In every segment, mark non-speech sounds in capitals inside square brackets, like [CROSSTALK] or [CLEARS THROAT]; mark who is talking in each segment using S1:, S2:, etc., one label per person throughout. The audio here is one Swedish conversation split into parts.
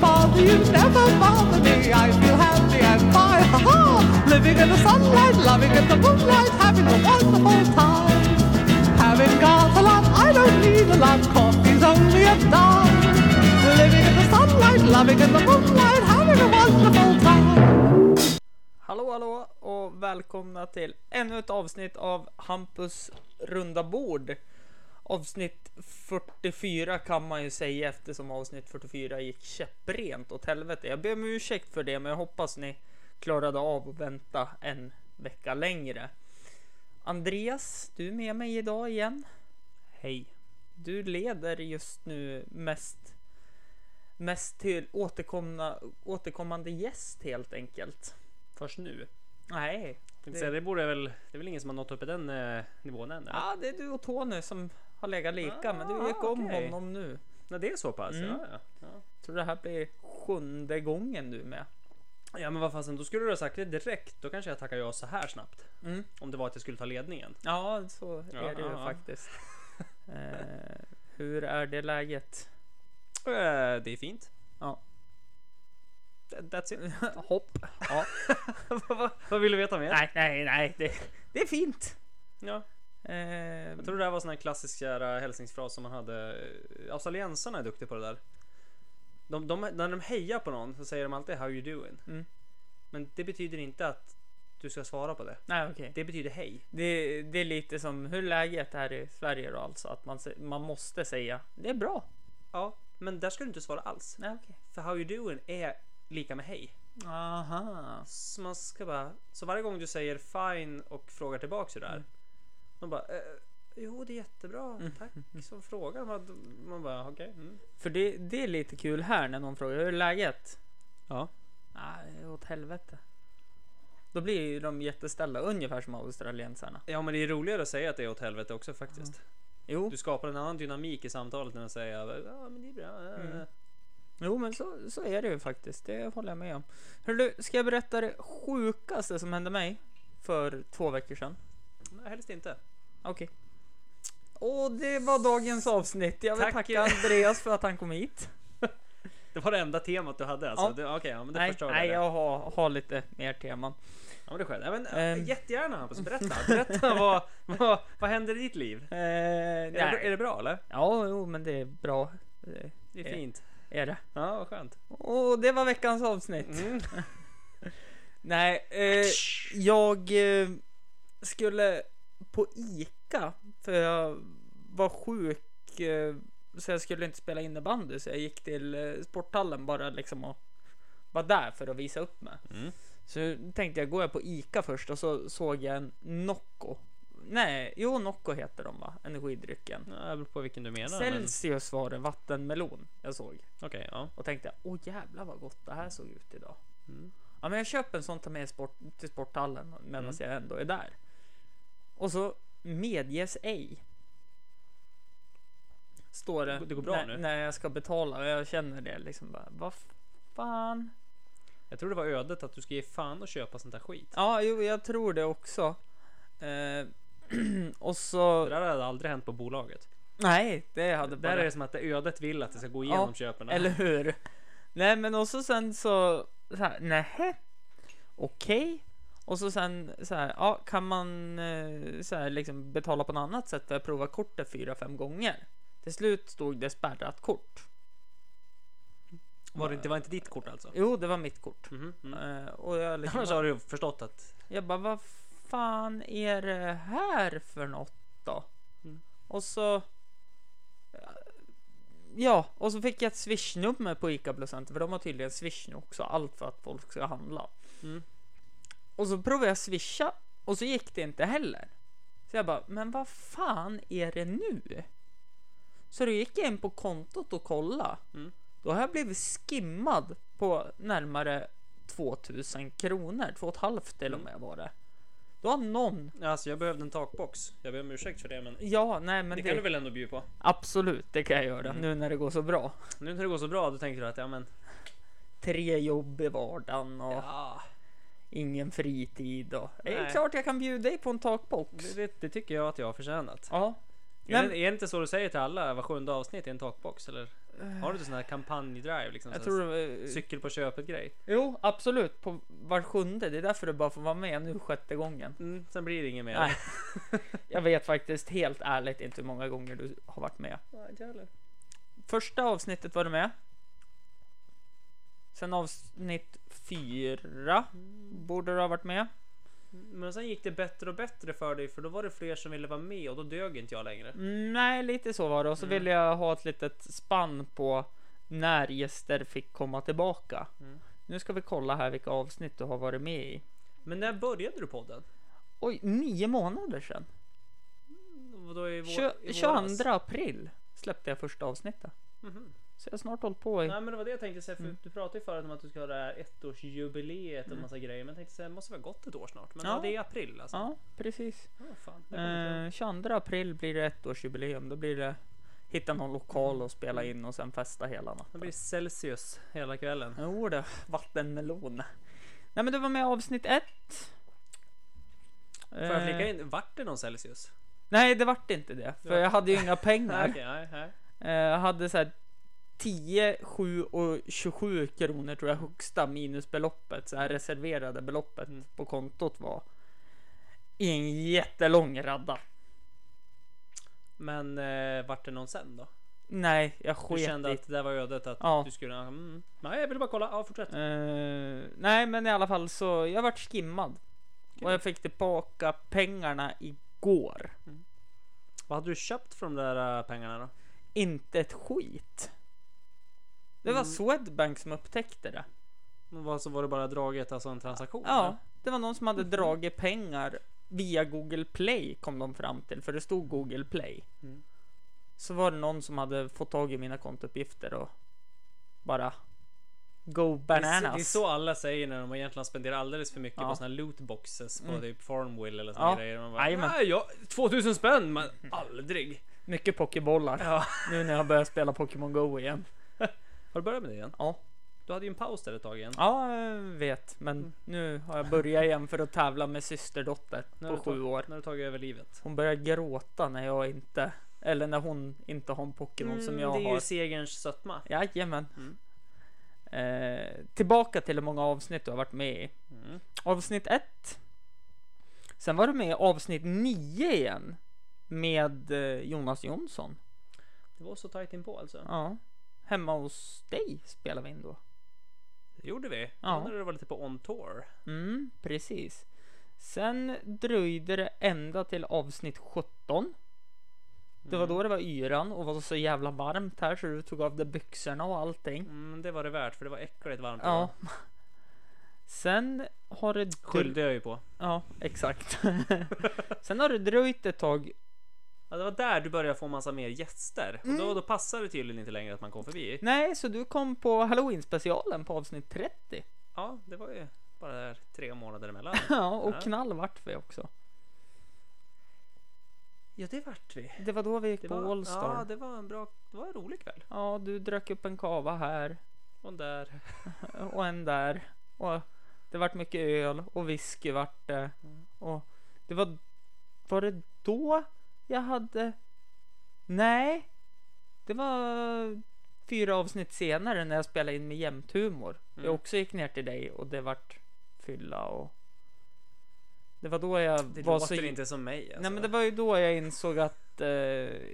S1: dreams never bother me. I feel happy and fine. Ha ha! Living in the sunlight, loving in the moonlight, having a wonderful time. Having got a lot, I don't need a lot. Coffee's only a dime. Living in the sunlight, loving in the moonlight, having a wonderful time.
S2: Hallå hallå och välkomna till ännu ett avsnitt av Hampus runda bord. Avsnitt 44 kan man ju säga eftersom avsnitt 44 gick käpprent åt helvete. Jag ber om ursäkt för det men jag hoppas ni klarade av att vänta en vecka längre. Andreas, du är med mig idag igen. Hej. Du leder just nu mest mest till återkomna, återkommande gäst helt enkelt.
S3: först nu.
S2: Nej,
S3: Det,
S2: Det-
S3: säga, det, borde väl, det är väl ingen som har nått upp i den eh, nivån än? eller?
S2: Ja, det är du och Tony som har legat lika, men du gick
S3: Ah,
S2: om
S3: okej.
S2: honom nu.
S3: Nej, det är så pass?
S2: Mm.
S3: Ja, ja. Ja.
S2: Tror det här blir sjunde gången du är med.
S3: ja men vad fasen, då skulle du ha sagt det direkt. Då kanske jag tackar ja så här snabbt.
S2: Mm.
S3: Om det var att jag skulle ta ledningen.
S2: Ja, så är det ju
S3: Ja, ja.
S2: faktiskt. eh, hur är det läget?
S3: Eh, det är fint.
S2: Ja.
S3: Th- That's it.
S2: [LAUGHS] Hopp. Ja.
S3: Vad- vad- vad vill du veta mer?
S2: nej, nej, nej. Det, det är fint.
S3: Ja.
S2: Eh,
S3: Jag tror det här var sån här klassisk jära hälsningsfras som man hade. eh, Australiensarna är duktiga på det där. De, de, när de hejar på någon så säger de alltid How you doing?
S2: Mm.
S3: Men det betyder inte att du ska svara på det.
S2: nej, okej.
S3: Det betyder hej.
S2: Det, det är lite som hur läget är i Sverige då alltså. Att man, se- man måste säga det är bra.
S3: Ja, men där ska du inte svara alls.
S2: Nej, okej.
S3: För how you doing är lika med hej.
S2: Aha.
S3: Så man ska bara... Så varje gång du säger fine och frågar tillbaks hur det
S2: Mm.
S3: är. De bara... Eh, jo, det är jättebra. Tack som frågar. Man, man bara okej. mm.
S2: För det, det är lite kul här när någon frågar hur är läget?
S3: Ja.
S2: Nej, åt helvete. Då blir ju de jätteställda, ungefär som australiensarna.
S3: Ja, men det är roligare att säga att det är åt helvete också faktiskt.
S2: Jo,
S3: Du skapar en annan dynamik i samtalet när du säger ja, men det är bra. Eh,
S2: Mm. jo men så, så är det ju faktiskt. Det håller jag med om. Hörru, ska jag berätta det sjukaste som hände mig för två veckor sedan?
S3: Nej, helst inte.
S2: Okej. Och det var dagens avsnitt. Jag vill
S3: Tack.
S2: tacka Andreas för att han kom hit.
S3: Det var det enda temat du hade alltså.
S2: Ja.
S3: Det- Okej, ja, men det
S2: Nej,
S3: förstår
S2: nej
S3: jag.
S2: jag har, har lite mer teman. [LAUGHS]
S3: Ja, men det är skönt. Ja, men,
S2: Ehm.
S3: Jättegärna Hampus, berätta.
S2: [LAUGHS]
S3: Berätta vad, vad, vad händer i ditt liv?
S2: Eh,
S3: Är det,
S2: nej.
S3: är det bra eller?
S2: Ja, jo, men det är bra. eh,
S3: Det
S2: Eh.
S3: är fint.
S2: Är det.
S3: Ja, vad skönt.
S2: Och det var veckans avsnitt.
S3: Mm.
S2: Nej, eh, jag eh, skulle på Ica för jag var sjuk eh, så jag skulle inte spela innebandy så jag gick till eh, sporthallen bara liksom och var där för att visa upp mig.
S3: Mm.
S2: Så tänkte jag, går jag på Ica först och så såg jag en Nocco. Nej, jo Nocco heter de va, energidrycken.
S3: Ja, det beror på vilken du menar. men-
S2: Celsius var det, vattenmelon jag såg.
S3: Okej, ja.
S2: Och tänkte, åh jävlar vad gott det här såg ut idag.
S3: Mm.
S2: Ja, men jag köper en sån tar med sport, till sporthallen medan jag ändå är där. Och så medges ej. Står det.
S3: Det går bra
S2: när,
S3: nu.
S2: När jag ska betala och jag känner det liksom bara, vad fan.
S3: Jag tror det var ödet att du ska ge fan och köpa sånt där skit.
S2: Ja, jo, jag tror det också. Eh, [CLEARS THROAT] och
S3: Det
S2: så.
S3: där hade aldrig hänt på bolaget.
S2: Nej, det hade
S3: Där
S2: bara.
S3: är det som att det ödet vill att det ska gå igenom köpen.
S2: Eller hur? Nej men och så sen så, så här, nähä, okej. Och så sen så här, ja kan man eh, så här, liksom betala på något annat sätt för jag provar kortet fyra, fem gånger. Till slut stod det spärrat kort.
S3: Var det, det var inte ditt kort alltså?
S2: Jo, det var mitt kort.
S3: Mhm, mm.
S2: Eh, och [LAUGHS] jag liksom,
S3: Annars har du ju förstått att...
S2: Jag bara, vad fan är det här för något då?
S3: Mm.
S2: Och så... Ja, och så fick jag ett swishnummer på ICA Blåcenter för de har tydligen swish nu också, allt för att folk ska handla.
S3: Mm.
S2: Och så provade jag swisha och så gick det inte heller. Så jag bara, men vad fan är det nu? Så då gick jag in på kontot och kolla.
S3: Mm.
S2: Då har jag blivit skimmad på närmare 2000 kronor, 2,5 till och
S3: Mm.
S2: med var det. Då har någon,
S3: Alltså jag behövde en takbox. Jag ber om ursäkt för det men...
S2: ja nej men
S3: det
S2: det,
S3: kan du väl Mm. ändå bjuda på?
S2: absolut det kan jag göra nu när det går så bra.
S3: Nu när det går så bra då tänker du att ja men...
S2: Tre jobb i vardagen och
S3: Ja,
S2: ingen fritid och det är
S3: Nej.
S2: klart jag kan bjuda dig på en takbox.
S3: det, det, det tycker jag att jag har förtjänat.
S2: Ja,
S3: Är,
S2: Nej,
S3: det, är det inte så du säger till alla var sjunde avsnitt i en takbox eller? Har du inte sån här kampanjdrive? Liksom,
S2: Eh. Jag
S3: sån här
S2: tror det var...
S3: Cykel på köpet grej.
S2: Jo, absolut. På var sjunde. Det är därför du bara får vara med nu sjätte gången.
S3: Mm, sen blir det inget mer.
S2: Nej. Jag vet faktiskt helt ärligt inte hur många gånger du har varit med.
S3: Nej, inte jag heller.
S2: Första avsnittet var du med. Sen avsnitt fyra
S3: Mm.
S2: borde du ha varit med.
S3: Men sen gick det bättre och bättre för dig för då var det fler som ville vara med och då dög inte jag längre.
S2: Mm, Nej, lite så var det. Och så
S3: Mm.
S2: ville jag ha ett litet spann på när gäster fick komma tillbaka.
S3: Mm.
S2: Nu ska vi kolla här vilka avsnitt du har varit med i.
S3: Men när började du podden?
S2: Oj, nio månader sedan.
S3: Då i vår, i
S2: Tjö-
S3: våras?
S2: 22 april släppte jag första avsnittet.
S3: Mhm.
S2: Så jag har snart hållit på i...
S3: Nej men det var det jag tänkte säga, för
S2: Mm.
S3: du pratade ju förut om att du ska ha det här ettårsjubileet och massa grejer. Men jag tänkte säga, det måste väl ha gått ett år snart? Men ja,
S2: Ja.
S3: det är i april alltså.
S2: Ja, precis.
S3: Ja, fan. Det kommer inte
S2: Eh, 22 april blir det ettårsjubileum. Då blir det hitta någon lokal och spela in och sen festa hela natten.
S3: jag. Det blir Celsius hela kvällen.
S2: Jo du, vattenmelon. Nej men du var med i avsnitt ett.
S3: Får
S2: Eh.
S3: jag flika in, vart det någon Celsius?
S2: Nej det vart inte det. För
S3: Ja.
S2: jag hade ju inga
S3: Nej.
S2: pengar.
S3: [LAUGHS] Okej, nej, nej.
S2: Eh, Jag hade så här 10, 7 och 27 kronor tror jag högsta minusbeloppet. Så här reserverade beloppet
S3: Mm.
S2: på kontot var. I en jättelång radda.
S3: Men eh, vart det någon sen då?
S2: Nej, jag
S3: Du
S2: sket
S3: kände
S2: i
S3: att det där var ödet att
S2: Ja.
S3: du skulle... Mm. Nej, jag ville bara kolla. Ja, fortsätt.
S2: Eh, nej, men i alla fall så jag vart skimmad och jag fick tillbaka pengarna igår.
S3: Vad hade du köpt för de där eh, pengarna då?
S2: Inte ett skit. Det var
S3: Mm.
S2: Swedbank som upptäckte det.
S3: Men Vad så var det bara draget, alltså en transaktion?
S2: Ja, det var någon som
S3: Mhm.
S2: hade dragit pengar via Google Play kom de fram till för det stod Google Play.
S3: Mm.
S2: Så var det någon som hade fått tag i mina kontouppgifter och bara go
S3: eller? Det är, så-
S2: bananas.
S3: det är så alla säger när de egentligen spenderar alldeles för mycket
S2: Ja.
S3: på såna här lootboxes på typ Farmville eller såna
S2: Ja.
S3: grejer. Man bara,
S2: Jajamän.
S3: Nej, jag, 2000 spänn, men aldrig.
S2: Mycket pokébollar
S3: Ja.
S2: nu när jag börjar spela Pokémon Go igen.
S3: Har du börjat med det igen?
S2: Ja.
S3: Du hade ju en paus där ett tag igen.
S2: Ja, jag vet. Men nu har jag börjat igen för att tävla med systerdotter
S3: När
S2: på
S3: du tog-
S2: sju år.
S3: När du tagit över livet.
S2: typ Hon börjar gråta när jag inte, eller när hon inte har en Pokémon som jag
S3: Mm, det är
S2: har.
S3: ju segerns sötma.
S2: Jajamän.
S3: Mm.
S2: Eh, tillbaka till hur många avsnitt du har varit med i.
S3: Mm.
S2: Avsnitt 1. Sen var du med i avsnitt 9 igen. Med eh, Jonas Jonsson.
S3: Det var så tajt inpå alltså.
S2: Ja. Hemma hos dig spelar vi in då.
S3: Det gjorde vi.
S2: Ja.
S3: Ja. När du var lite på on tour.
S2: Mm, precis. Sen dröjde det ända till avsnitt 17. Det
S3: Mm.
S2: var då det var yran och var så jävla varmt här så du tog av dig byxorna och allting.
S3: Mm, det var det värt för det var äckligt varmt.
S2: Ja. Sen har det... dr-
S3: Skyllde jag ju på.
S2: Ja, exakt. [LAUGHS] Sen har det dröjt ett tag.
S3: Ja, det var där du började få massa mer gäster. Och
S2: Mm.
S3: då, då passade det tydligen inte längre att man kom förbi.
S2: Nej, så du kom på halloween specialen på avsnitt 30.
S3: Ja, det var ju bara där tre månader emellan.
S2: [LAUGHS] Ja, och
S3: Ja.
S2: knall vart vi också.
S3: ja, det vart vi.
S2: Det var då vi gick
S3: Det
S2: på
S3: var,
S2: Allstar.
S3: ja,
S2: Ja,
S3: det var en bra, det var en rolig kväll.
S2: ja, du drack upp en kava här.
S3: Och där.
S2: och en där. Och det vart mycket öl och whisky vart det. Och det var... Var det då jag hade... Nej. Det var fyra avsnitt senare när jag spelade in med jämthumor.
S3: Mm.
S2: Jag också gick ner till dig och det vart fylla och... Det var då jag
S3: Det
S2: var
S3: låter
S2: så...
S3: inte som mig. Alltså.
S2: Nej men det var ju då jag insåg att eh,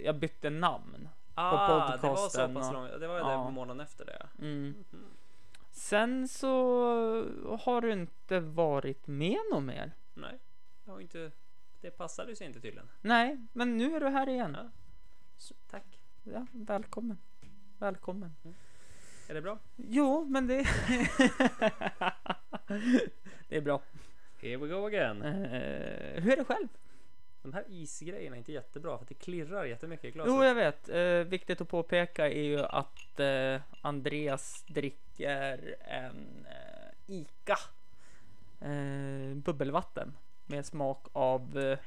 S2: jag bytte namn.
S3: ah, det var så
S2: podcasten
S3: pass
S2: och-
S3: långt. Det var ju
S2: ja.
S3: där månaden efter det.
S2: Mm. Sen så har du inte varit med någon mer.
S3: Nej, jag har inte. Det passade sig inte tydligen.
S2: Nej, men nu är du här igen.
S3: Ja. Så, tack.
S2: Ja, välkommen. Välkommen.
S3: Är det bra?
S2: Jo, men det... [LAUGHS] det är bra.
S3: Here we go again.
S2: Eh, hur är det själv?
S3: De här isgrejerna är inte jättebra för att det klirrar jättemycket i glaset.
S2: Jo, jag vet. Eh, viktigt att påpeka är ju att eh, Andreas dricker en eh, Ica eh, bubbelvatten med smak av eh,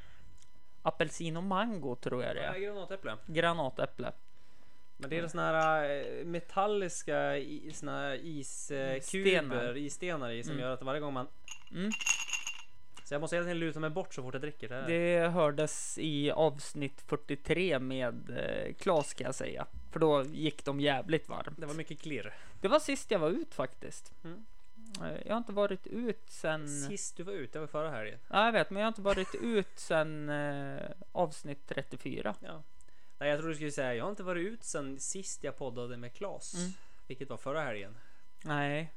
S2: apelsin och mango tror jag det
S3: Ja,
S2: är.
S3: granatäpple.
S2: Granatäpple.
S3: Men det är såna här eh, metalliska i- såna här iskuber,
S2: Stenar.
S3: isstenar i som gör att varje gång man
S2: Mm.
S3: Så jag måste hela tiden luta mig bort så fort jag dricker. Det här.
S2: Det hördes i avsnitt 43 med eh, Klas kan jag säga. För då gick de jävligt varmt.
S3: det var mycket klirr.
S2: Det var sist jag var ut faktiskt.
S3: Mm.
S2: Eh, Jag har inte varit ut sen...
S3: Sist du var ute, det var förra helgen.
S2: Ja, jag vet, men jag har inte varit ut sen eh, avsnitt 34.
S3: Ja. Nej, jag tror du skulle säga jag har inte varit ut sen sist jag poddade med Klas.
S2: Mm.
S3: Vilket var förra helgen.
S2: Nej,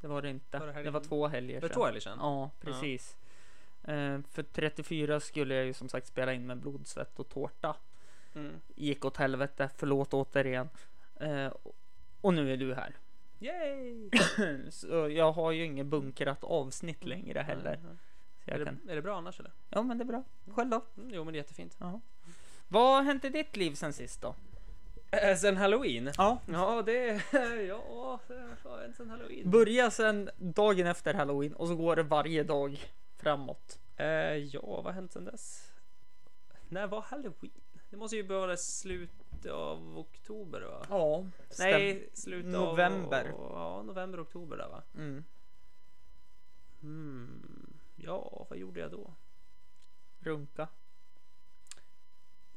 S2: det var det inte.
S3: Var det här
S2: det var
S3: i-
S2: två helger
S3: För
S2: sedan.
S3: två helger sedan.
S2: Ja, precis. Eh, för 34 skulle jag ju som sagt spela in med blod, svett och tårta.
S3: Mm.
S2: Gick åt helvete, förlåt återigen. Eh, och nu är du här. [CLEARS THROAT]
S3: Yay!
S2: [LAUGHS] Så jag har ju inget bunkrat avsnitt längre heller.
S3: Ja,
S2: Så
S3: ja. Är,
S2: jag kan...
S3: det, är det bra annars eller?
S2: Ja men det är bra. Själv då?
S3: Mm, jo men det är jättefint.
S2: Vad har hänt i ditt liv sen sist då?
S3: Äh, sen halloween?
S2: Ja.
S3: Ja det... [LAUGHS] Ja, det har hänt sen halloween.
S2: Börja sen dagen efter halloween och så går det varje dag framåt.
S3: Eh, ja, vad har hänt sen dess? När var halloween? Det måste ju vara slutet av oktober va?
S2: Ja.
S3: Nej, slutet
S2: november.
S3: av... Ja, november, oktober där va?
S2: Mm.
S3: Hmm. Ja, vad gjorde jag då?
S2: Runka.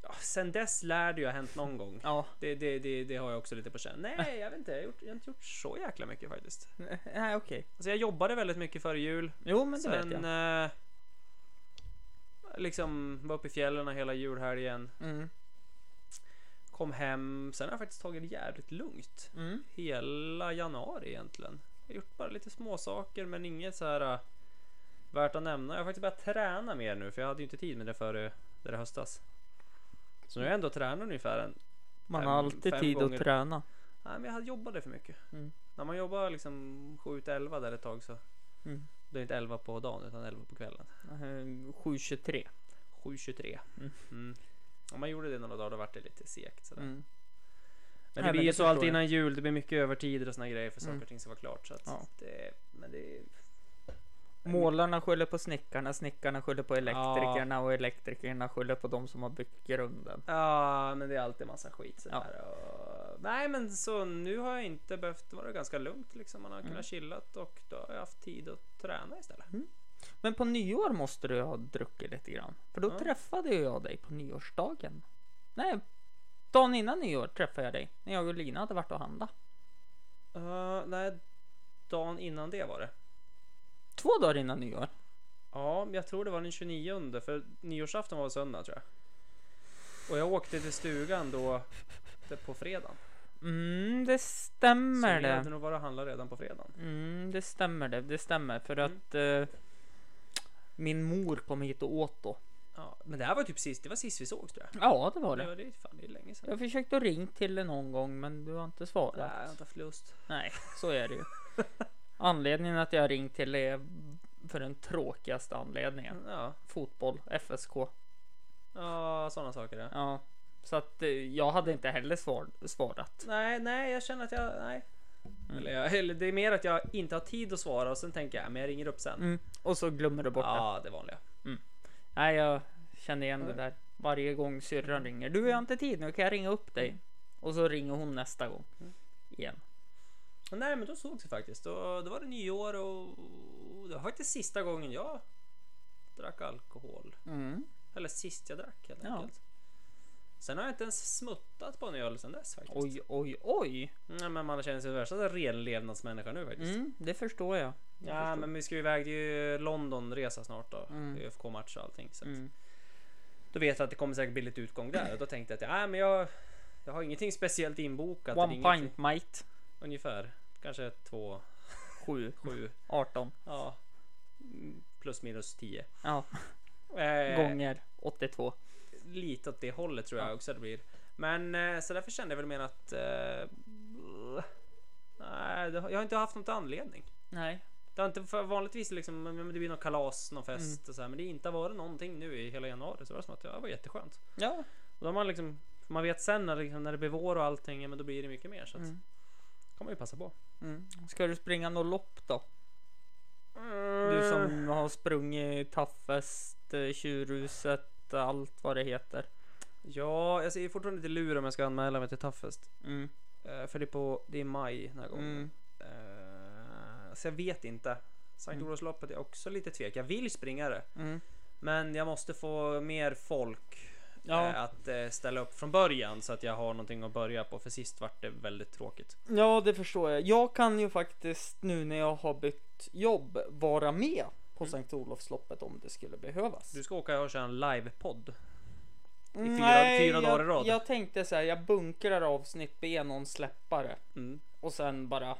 S3: Ja, sen dess lär det ju ha hänt någon gång.
S2: Ja. [LAUGHS]
S3: Det, det, det, det har jag också lite på känn. Nej, jag vet inte. Jag har, gjort, jag har inte gjort så jäkla mycket faktiskt.
S2: Nej okej.
S3: Alltså jag jobbade väldigt mycket före jul.
S2: Jo men det
S3: sen
S2: vet jag.
S3: eh, liksom var uppe i fjällen hela julhelgen.
S2: Mm.
S3: Kom hem. Sen har jag faktiskt tagit det jävligt lugnt.
S2: Mm.
S3: Hela januari egentligen. Jag har gjort bara lite små saker men inget så här eh, värt att nämna. Jag har faktiskt börjat träna mer nu för jag hade ju inte tid med det före det där höstas. Så nu har jag ändå tränat ungefär en
S2: Man
S3: Fem-
S2: har alltid
S3: fem
S2: tid
S3: gånger.
S2: att träna.
S3: Nej, men jag hade jobbade för mycket.
S2: Mm.
S3: När man jobbar liksom 7 till 11 där ett tag så.
S2: Mm.
S3: Det är inte 11 på dagen utan 11 på kvällen.
S2: Eh, 7.23.
S3: 7.23.
S2: Mm.
S3: Mm. Om man gjorde det några dagar då vart det lite segt sådär.
S2: Mm.
S3: Men det
S2: Nej,
S3: blir
S2: men
S3: ju
S2: det
S3: så alltid
S2: förstår jag.
S3: innan jul. Det blir mycket övertider och såna grejer för saker
S2: Mm.
S3: och ting ska vara klart. Så att
S2: Ja.
S3: det, men det är...
S2: Målarna skyller på snickarna, snickarna skyller på elektrikerna och elektrikerna skyller på de som har byggt grunden.
S3: Ja, men det är alltid massa skit
S2: Ja.
S3: sådär. Och... Nej, men så nu har jag inte behövt vara ganska lugnt liksom. Man har kunnat chillat och då har jag haft tid att träna istället.
S2: Men på nyår måste du ha druckit lite grann. För då
S3: Ja.
S2: träffade ju jag dig på nyårsdagen. Nej, dagen innan nyår träffade jag dig. När jag och Lina hade varit och handla.
S3: Eh, nej, dagen innan det var det.
S2: Två dagar innan nyår.
S3: Ja, men jag tror det var den 29 för nyårsafton var söndag tror jag. Och jag åkte till stugan då det- på fredagen.
S2: Mm, det
S3: Så
S2: stämmer
S3: vi
S2: det.
S3: hade nog varit och handlat redan på fredagen.
S2: Mm, det stämmer det. Det stämmer för
S3: Mm.
S2: att eh, min mor kom hit och åt då.
S3: Ja, men det här var typ sist, det var sist vi sågs tror jag.
S2: Ja, det var
S3: Det
S2: det.
S3: var det, fan, det är länge sedan.
S2: Jag försökte att ringa till dig någon gång, men du har inte
S3: Nej, jag har
S2: svarat.
S3: inte haft lust.
S2: Nej, så är det [LAUGHS] ju. Anledningen att jag har ringt till dig är för den tråkigaste anledningen.
S3: Ja,
S2: Fotboll, FSK.
S3: ja sådana saker ja.
S2: Ja, så att eh, jag hade inte heller svar, svarat.
S3: Nej, nej, jag känner att jag, nej. Eller, jag, eller det är mer att jag inte har tid att svara och sen tänker jag, ja, men jag ringer upp sen.
S2: Mm. Och så glömmer du bort det.
S3: Ja, det vanliga.
S2: Nej, jag känner igen det där. Varje gång syrran ringer. Du, jag har inte tid nu. Kan jag ringa upp dig? Och så ringer hon nästa gång. Igen.
S3: Men Nej, men då sågs vi faktiskt. Då, då var det nyår och det var faktiskt sista gången jag drack alkohol.
S2: Mm.
S3: Eller sist jag drack helt
S2: Ja.
S3: enkelt. Sen har jag inte ens smuttat på en öl sen dess faktiskt.
S2: Oj, oj, oj.
S3: Nej, men man känner sig värsta renlevnadsmänniska nu faktiskt.
S2: Mm, det förstår jag. Jag
S3: Ja,
S2: förstår.
S3: men vi ska ju iväg, det är ju Londonresa snart då.
S2: Mm.
S3: ÖFK-match och allting. Så att,
S2: Mm.
S3: Då vet jag att det kommer säkert bli lite utgång där. Och då tänkte jag att ja, men jag, jag har ingenting speciellt inbokat. Det är
S2: One
S3: ingenting-
S2: pint mate.
S3: Ungefär. Kanske två,
S2: 7,
S3: sju.
S2: 18.
S3: Ja. Mm, Plus minus tio.
S2: Ja,
S3: Eh,
S2: gånger 82.
S3: Lite åt det hållet tror jag
S2: Ja.
S3: också det blir. Men eh, så därför kände jag väl mer att... Eh, nej, det har, jag har inte haft någon anledning.
S2: Nej.
S3: Det har inte för vanligtvis liksom, men det blir någon kalas, någon fest
S2: Mm.
S3: och så här, men det har inte varit någonting nu i hela januari. Så det var som att ja, det var jätteskönt.
S2: Ja,
S3: Och då har man liksom, man vet sen när, det liksom, när det blir vår och allting, ja, men då blir det mycket mer. Så att,
S2: Mm.
S3: kan man ju passa på.
S2: Mm. Ska du springa något lopp då? Du som har sprungit Taffest, eh, Tjurhuset, allt vad det heter.
S3: Ja, jag ser fortfarande lite lur om jag ska anmäla mig till Toughest.
S2: Mm.
S3: Eh, för det är, på, det är i maj den här gången.
S2: Mm.
S3: Eh, så jag vet inte. Sankt Olofsloppet är också lite tvek. Jag vill springa det.
S2: Mm.
S3: Men jag måste få mer folk
S2: Ja.
S3: eh, att eh, ställa upp från början så att jag har någonting att börja på. För sist vart det väldigt tråkigt.
S2: Ja, det förstår jag. Jag kan ju faktiskt nu när jag har bytt jobb vara med på Sankt Olofsloppet om det skulle behövas.
S3: Mm.
S2: Mm,
S3: Du ska åka och köra en livepodd. fyra-
S2: Nej,
S3: fyra dagar i
S2: jag,
S3: rad.
S2: Jag tänkte så här, jag bunkrar avsnitt B någon släppare
S3: Mm.
S2: och sen bara.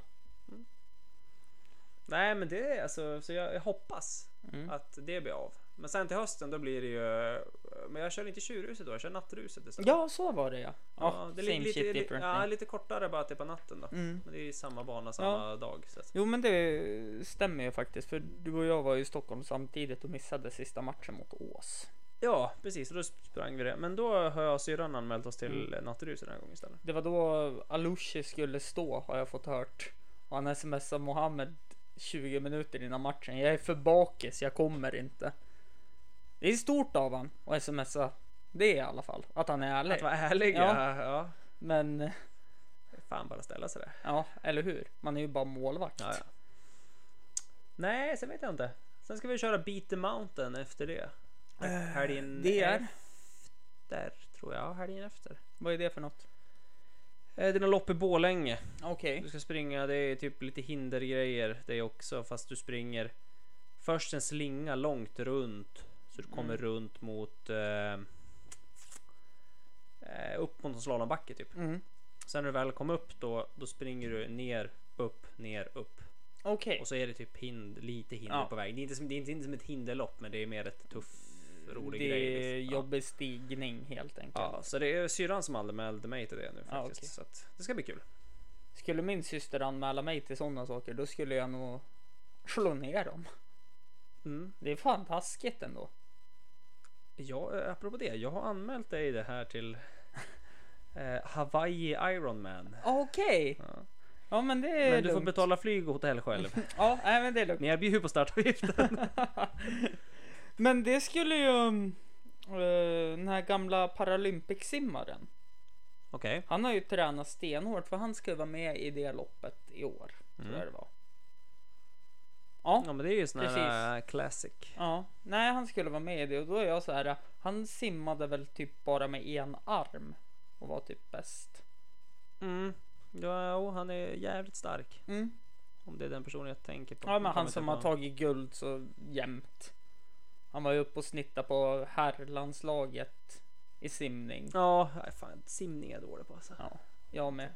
S3: Nej men det är alltså, så jag, jag hoppas
S2: Mm.
S3: att det blir av. Men sen till hösten då blir det ju, eh, men jag kör inte tjurhuset då, jag kör nattruset istället.
S2: Ja, så var det ja. Ja,
S3: det är
S2: same
S3: lite,
S2: shit
S3: lite,
S2: different
S3: ja,
S2: thing.
S3: lite kortare bara att det är på natten då.
S2: Mm.
S3: Men det är ju samma bana, samma dag. Så att,
S2: Jo, men det stämmer ju faktiskt för du och jag var ju i Stockholm samtidigt och missade sista matchen mot Ås.
S3: ja precis, och då sprang vi det. Men då har jag och syrran anmält oss till
S2: Mm.
S3: nattruset den här gången istället.
S2: Det var då Alushi skulle stå har jag fått hört. Och han smsade Mohammed 20 minuter innan matchen. Jag är för bakis, jag kommer inte. Det är stort av han att smsa det i alla fall. Att han är ärlig.
S3: Att vara ärlig,
S2: Ja.
S3: ja. ja.
S2: Men
S3: Fan bara ställa sig där.
S2: ja, eller hur? Man är ju bara målvakt.
S3: Ja, ja. Nej, sen vet jag inte. Sen ska vi köra Beat the Mountain efter det. Helgen
S2: Eh, det är-
S3: efter, tror jag. Ja, helgen efter.
S2: Vad är det för något?
S3: Eh, Det är något lopp i Borlänge.
S2: Okej.
S3: Du ska springa, det är typ lite hindergrejer det också. Fast du springer först en slinga långt runt. Så du
S2: Mm.
S3: kommer runt mot... Eh, eh, upp mot en slalombacke typ.
S2: Mm.
S3: Sen när du väl kom upp då, då springer du ner, upp, ner, upp.
S2: Okej.
S3: Och så är det typ hind, lite hinder
S2: Ja.
S3: på väg. Det är, inte som, det, är inte, inte som ett hinderlopp men det är mer ett tuff, rolig
S2: Mm, Det
S3: grej.
S2: är
S3: liksom. Ja.
S2: jobbig stigning helt enkelt.
S3: Ja, så det är syrran som anmälde mig till det nu
S2: Ja,
S3: faktiskt.
S2: Ah, okej.
S3: Så att det ska bli kul.
S2: Skulle min syster anmäla mig till sådana saker då skulle jag nog slå ner dem.
S3: Mm.
S2: Det är fan taskigt ändå.
S3: Ja, eh, apropå det. Jag har anmält dig det här till eh, Hawaii Ironman.
S2: Okej.
S3: Ja.
S2: Ja men det är
S3: Men du får
S2: lugnt.
S3: betala flyg och
S2: [LAUGHS]
S3: hotell själv.
S2: Ja, nej, men det är lugnt.
S3: Ni erbjuder
S2: [LAUGHS]
S3: på startavgiften.
S2: Men det skulle ju mm, eh, den här gamla Paralympic-simmaren.
S3: Okej.
S2: Han har ju tränat stenhårt för han ska ju vara med i det loppet i år. Tror
S3: Mm.
S2: jag det var. Ja,
S3: Ja men det är ju sån här
S2: Precis.
S3: eh, classic.
S2: ja. Nej, han skulle vara med i det och då är jag så här. Han simmade väl typ bara med en arm och var typ bäst.
S3: Mm. Ja, jo, han är jävligt stark.
S2: Mm.
S3: Om det är den personen jag tänker på.
S2: Ja, men
S3: Jag
S2: han
S3: kommer typ
S2: som
S3: inte
S2: har
S3: på-
S2: tagit guld så jämt. Han var ju uppe och snittade på herrlandslaget i simning.
S3: Ja, nej, fan, simning är jag dålig på alltså.
S2: Ja, jag med.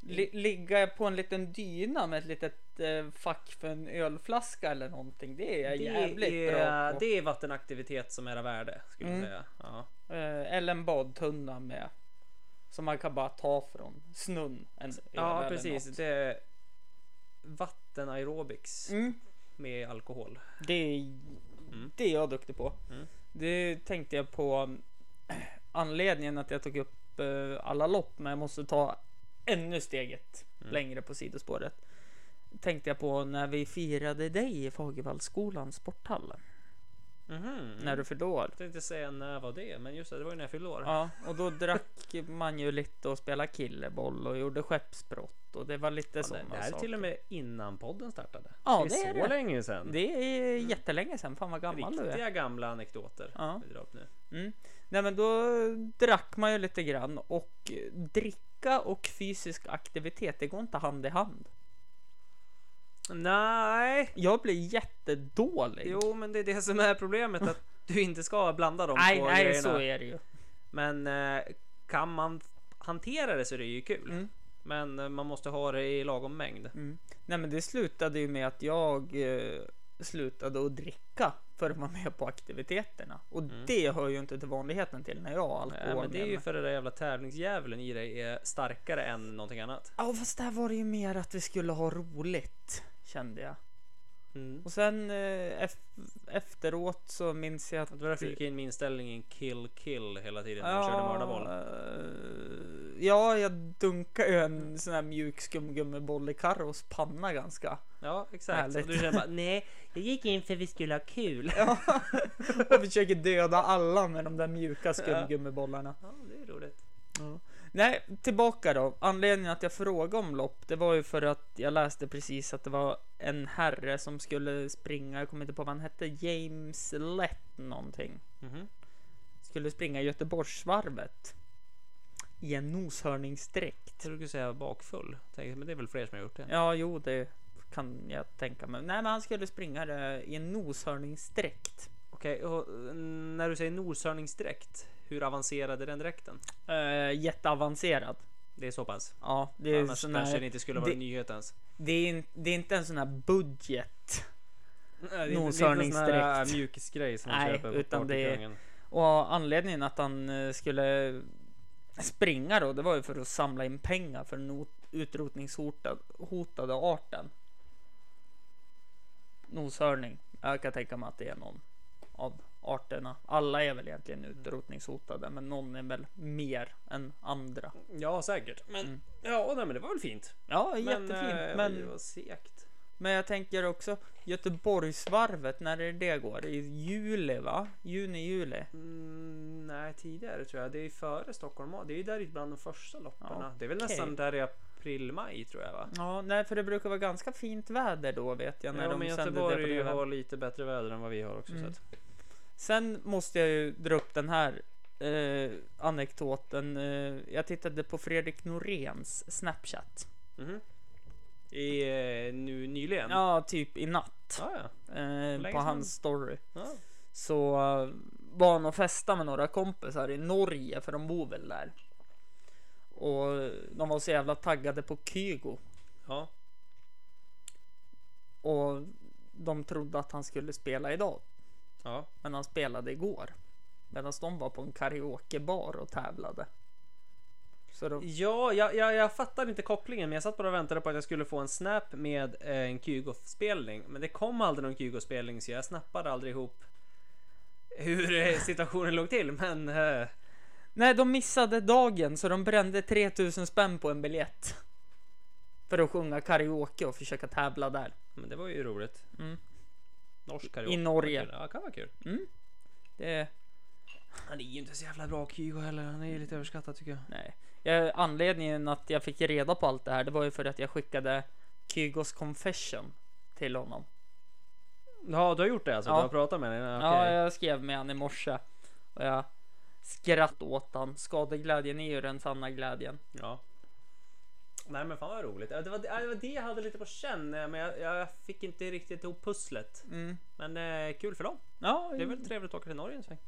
S2: Li-
S3: Mm.
S2: ligga på en liten dyna med ett litet eh, fack för en ölflaska eller någonting. Det är jag jävligt
S3: är,
S2: bra på.
S3: det är vattenaktivitet som är av värde skulle
S2: Mm.
S3: jag säga. Ja.
S2: Eh, eller en badtunna med. Som man kan bara ta från snön. En öl
S3: Ja,
S2: eller
S3: precis.
S2: något.
S3: Det är vattenaerobics
S2: Mm,
S3: med alkohol.
S2: det, är,
S3: Mm.
S2: det är jag duktig på. Det tänkte jag på [CLEARS THROAT] eh, anledningen att jag tog upp eh, alla lopp, men jag måste ta ännu steget
S3: Mm.
S2: längre på sidospåret. Tänkte jag på när vi firade dig i Fagervallsskolans sporthallen
S3: Mhm.
S2: när du fyllde år.
S3: Jag tänkte säga när var det, men just det, det var ju när jag fyllde år.
S2: Ja, och då drack [LAUGHS] man ju lite och spelade killeboll och gjorde skeppsbrott och det var lite
S3: det,
S2: sådana
S3: det här är
S2: saker.
S3: till och med innan podden startade.
S2: Ja,
S3: det är
S2: det
S3: så
S2: är det.
S3: länge sedan.
S2: Det är
S3: Mm.
S2: jättelänge sedan, fan vad gammal du är.
S3: Riktiga gamla anekdoter.
S2: Ja.
S3: Vi drar upp nu.
S2: Mm. Nej men då drack man ju lite grann och dricka och fysisk aktivitet det går inte hand i hand.
S3: Nej,
S2: Jag blir jättedålig.
S3: jo, men det är det som är problemet att du inte ska blanda de
S2: nej,
S3: två
S2: nej
S3: grejerna.
S2: så är det ju.
S3: Men eh, kan man f- hantera det så är det ju kul. Men eh, man måste ha det i lagom mängd.
S2: Mm. Nej men det slutade ju med att jag eh, slutade att dricka för att vara med på aktiviteterna. Och det hör ju inte till vanligheten till när jag har alkohol
S3: Mm. Nej, Eh, men det är
S2: med
S3: ju
S2: mig.
S3: för det där jävla tävlingsdjävulen i dig är starkare än någonting annat.
S2: Ja fast där var det ju mer att vi skulle ha roligt kände jag.
S3: Mm.
S2: Och sen eh, ef- efteråt så minns jag att...
S3: Det var därför jag fick in min inställning i en kill kill hela tiden när jag körde mördarboll.
S2: eh, Ja, jag dunkade ju en sån här mjuk skumgummiboll i Carros panna ganska.
S3: Ja exakt. Och
S2: Härligt.
S3: du känner [LAUGHS] bara nej, jag gick in för vi skulle ha kul.
S2: [LAUGHS] Och försöker döda alla med de där mjuka skumgummibollarna.
S3: Ja, det är roligt.
S2: Nej, tillbaka då. Anledningen att jag frågade om lopp, det var ju för att jag läste precis att det var en herre som skulle springa, jag kommer inte på vad han hette, James Lett någonting.
S3: Mhm.
S2: Skulle springa Göteborgsvarvet. I en noshörningsdräkt.
S3: Jag trodde du skulle säga bakfull. Tänkte, men det är väl fler som har gjort det.
S2: Ja, jo, det kan jag tänka mig. Nej, men han skulle springa det i en noshörningsdräkt.
S3: Okej, och eh, när du säger noshörningsdräkt. Hur avancerad är den dräkten?
S2: Eh, jätteavancerad.
S3: Det är så pass?
S2: Ja, det är
S3: Annars
S2: sån
S3: kanske
S2: här,
S3: det inte skulle vara
S2: det-
S3: en nyhet ens.
S2: det, är, in- det är inte en sån här budget.
S3: Nej, det är inte-
S2: Noshörningsdräkt.
S3: Det är inte en sån här mjukisgrej som man
S2: Nej,
S3: köper på
S2: utan det är-
S3: partykungen.
S2: Och anledningen att han eh, skulle springa då, det var ju för att samla in pengar för den not- utrotningshotade arten. Noshörning. Jag kan tänka mig att det är någon av arterna. Alla är väl egentligen
S3: Mm.
S2: utrotningshotade, men någon är väl mer än andra.
S3: Ja, säkert. Men, ja, nej, men det var väl fint.
S2: Ja,
S3: Mm. Men,
S2: jättefint.
S3: eh,
S2: Men,
S3: oj, vad segt.
S2: men jag tänker också Göteborgsvarvet, när är det det går? I juli, va? Juni, juli?
S3: Mm, nej, tidigare tror jag. Det är före Stockholm. Det är ju där bland de första lopparna.
S2: Ja,
S3: Det är väl
S2: okej.
S3: nästan där i april-maj tror jag va?
S2: Ja, nej, för det brukar vara ganska fint väder då vet jag när
S3: Mm. Ja, men
S2: de sänder det på
S3: Göteborg
S2: det
S3: har lite bättre väder än vad vi har också.
S2: Mm.
S3: Så att,
S2: Sen måste jag ju dra upp den här eh, anekdoten. Eh, jag tittade på Fredrik Noréns Snapchat.
S3: Mhm. I, eh, nu nyligen?
S2: Ja, typ i natt.
S3: Ah, ja.
S2: Eh,
S3: länge
S2: på
S3: sedan?
S2: hans story.
S3: Ja.
S2: Så eh, var han och festade med några kompisar i Norge, för de bor väl där. Och eh, de var så jävla taggade på Kygo.
S3: ja.
S2: Och de trodde att han skulle spela idag.
S3: Ja.
S2: Men han spelade igår. Medan de var på en karaokebar och tävlade. Så då,
S3: Ja, jag, jag, jag fattar inte kopplingen men jag satt bara och väntade på att jag skulle få en snap med eh, en Kygo-spelning. Men det kom aldrig någon Kygo-spelning så jag snappade aldrig ihop hur eh, situationen låg till. Men eh,
S2: nej, de missade dagen så de brände 3000 spänn på en biljett. För att sjunga karaoke och försöka tävla där.
S3: Men det var ju roligt.
S2: Mm.
S3: Norsk karaoke.
S2: I Norge.
S3: Kan vara kul. Ja, kan vara kul.
S2: Det,
S3: Han är ju inte så jävla bra Kygo heller. Han är ju lite överskattad tycker jag.
S2: nej. Jag, anledningen att jag fick reda på allt det här, det var ju för att jag skickade Kygos confession till honom.
S3: Ja, du har gjort det alltså?
S2: Ja.
S3: Du har pratat med henne? Okej.
S2: Ja, jag skrev med han i morse och jag skratt åt han. Skadeglädjen är ju den sanna glädjen.
S3: Ja. Nej men fan vad roligt. Ja, Det var, ja, det var det jag hade lite på känn eh, men jag, jag fick inte riktigt ihop pusslet.
S2: Mm.
S3: Men eh, kul för dem.
S2: Ja,
S3: Det är väl trevligt att åka till Norge en sväng.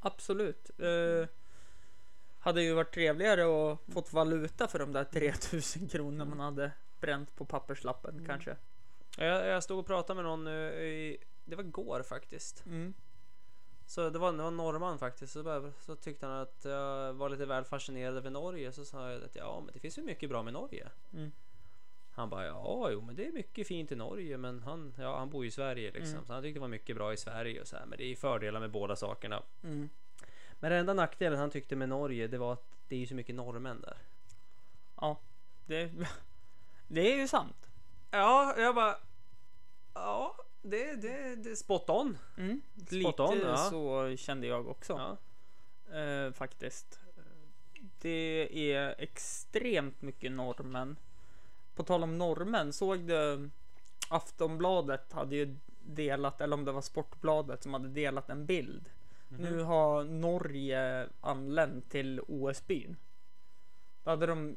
S2: Absolut. Eh, hade ju varit trevligare att
S3: Mm.
S2: fått valuta för de där 3000 kronor man hade bränt på papperslappen
S3: Mm.
S2: kanske.
S3: Jag, jag stod och pratade med någon nu i, det var igår faktiskt. Så det var, det var en norrman faktiskt. Så, bara, så tyckte han att jag var lite väl fascinerad över Norge. Så sa jag att ja, men det finns ju mycket bra med Norge.
S2: Mm.
S3: Han bara ja, jo, men det är mycket fint i Norge, men han, ja, han bor ju i Sverige liksom. Så han tyckte det var mycket bra i Sverige och så här. Men det är ju fördelar med båda sakerna.
S2: Mm.
S3: Men den enda nackdelen han tyckte med Norge, det var att det är ju så mycket norrmän där.
S2: Ja, det, [LAUGHS] det är ju sant.
S3: Ja, jag bara. Ja, det, det, det spot on.
S2: Mm. Lite
S3: Spot on, ja.
S2: så kände jag också
S3: Ja.
S2: eh, faktiskt. Det är extremt mycket normen. På tal om normen, såg du Aftonbladet hade ju delat, eller om det var Sportbladet som hade delat en bild. Nu har Norge anlänt till OS-byn. Då hade de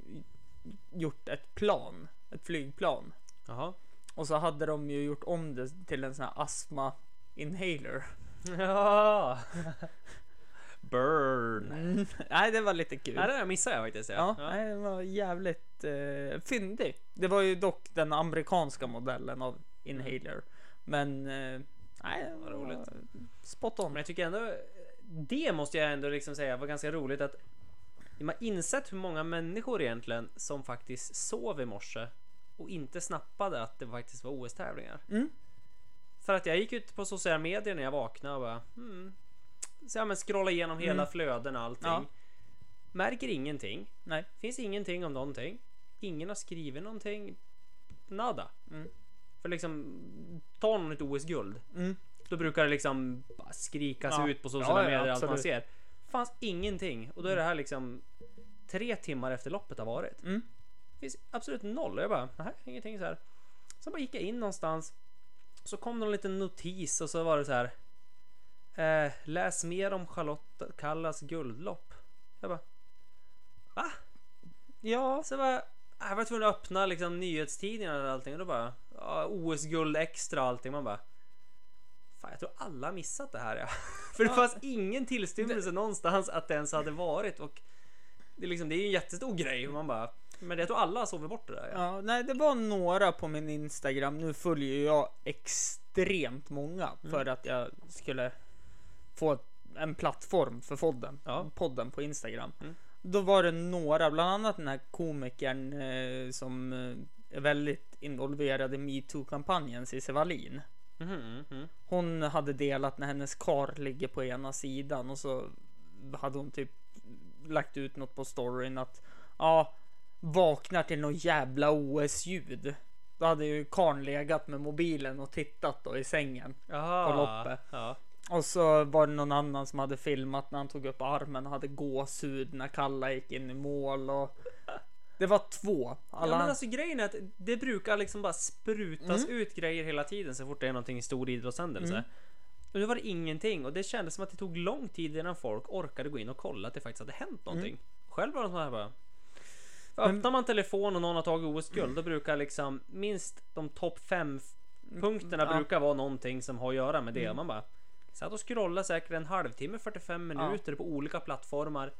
S2: gjort ett plan, ett flygplan.
S3: Jaha.
S2: Och så hade de ju gjort om det till en sån här astma inhaler.
S3: [LAUGHS] Ja. Burn.
S2: Mm. [LAUGHS] Nej, det var lite kul.
S3: Nej, det där missade jag faktiskt.
S2: Ja,
S3: Ja. Ja.
S2: Nej, den var jävligt eh, fyndig. Det var ju dock den amerikanska modellen av inhaler. Men eh, nej, den var
S3: Vad roligt.
S2: Spot on.
S3: Men jag tycker ändå, det måste jag ändå liksom säga var ganska roligt att man har insett hur många människor egentligen som faktiskt sov i morse och inte snappade att det faktiskt var OS-tävlingar.
S2: Mm.
S3: För att jag gick ut på sociala medier när jag vaknade och bara hmm. Så ja, men scrolla igenom hela flöden och allting.
S2: Mm. Ja.
S3: Märker ingenting.
S2: Nej.
S3: Finns ingenting om någonting. Ingen har skrivit någonting. Nada.
S2: Mm.
S3: För liksom, tar någon ett OS-guld.
S2: Mm.
S3: Då brukar det liksom bara skrikas
S2: Ja.
S3: ut på sociala
S2: Ja, ja,
S3: medier allt man
S2: absolut.
S3: ser. Fanns ingenting. Och då är det här liksom tre timmar efter loppet har varit.
S2: Mm.
S3: finns absolut noll. Och jag bara, nej, ingenting så här. Sen bara gick jag in någonstans. Så kom någon liten notis och så var det så här. Eh, läs mer om Charlotte Kallas guldlopp. Jag bara, va?
S2: Ja,
S3: Så jag bara, "Ah, jag var tvungen att öppna liksom nyhetstidningarna och allting och då bara, ja, OS-guld extra och allting. Man bara, fan jag tror alla missat det här ja. [LAUGHS] För det
S2: Ja.
S3: fanns ingen tillstymmelse någonstans att det ens hade varit och det är liksom, det är ju en jättestor grej och man bara, men jag tror alla har sovit bort det där ja.
S2: Ja, nej, det var några på min Instagram. Nu följer ju jag extremt många
S3: Mm.
S2: för att jag skulle få ett- en plattform för podden,
S3: Ja.
S2: podden på Instagram.
S3: Mm.
S2: Då var det några, bland annat den här komikern eh, som eh, är väldigt involverad i metoo-kampanjen, Cissi Wallin.
S3: Mhm, mhm.
S2: Hon hade delat när hennes kar ligger på ena sidan och så hade hon typ lagt ut något på storyn att ja, vaknar till något jävla OS-ljud. Då hade ju karln legat med mobilen och tittat då i sängen.
S3: Aha,
S2: På loppet.
S3: Ja.
S2: Och så var det någon annan som hade filmat när han tog upp armen och hade gåshud när Kalla gick in i mål och det var två. Alla...
S3: ja men alltså grejen är att det brukar liksom bara sprutas
S2: Mm.
S3: ut grejer hela tiden så fort det är någonting i stor idrottshändelse. Och nu var det ingenting och det kändes som att det tog lång tid innan folk orkade gå in och kolla att det faktiskt hade hänt någonting.
S2: Mm.
S3: Själv var det så här bara. För öppnar man telefon och någon har tagit OS-guld då brukar liksom minst de topp fem f- punkterna
S2: Mm, Ja. Mm.
S3: brukar vara någonting som har att göra med det. Man bara satt och scrollade säkert en halvtimme, 45 minuter på olika plattformar.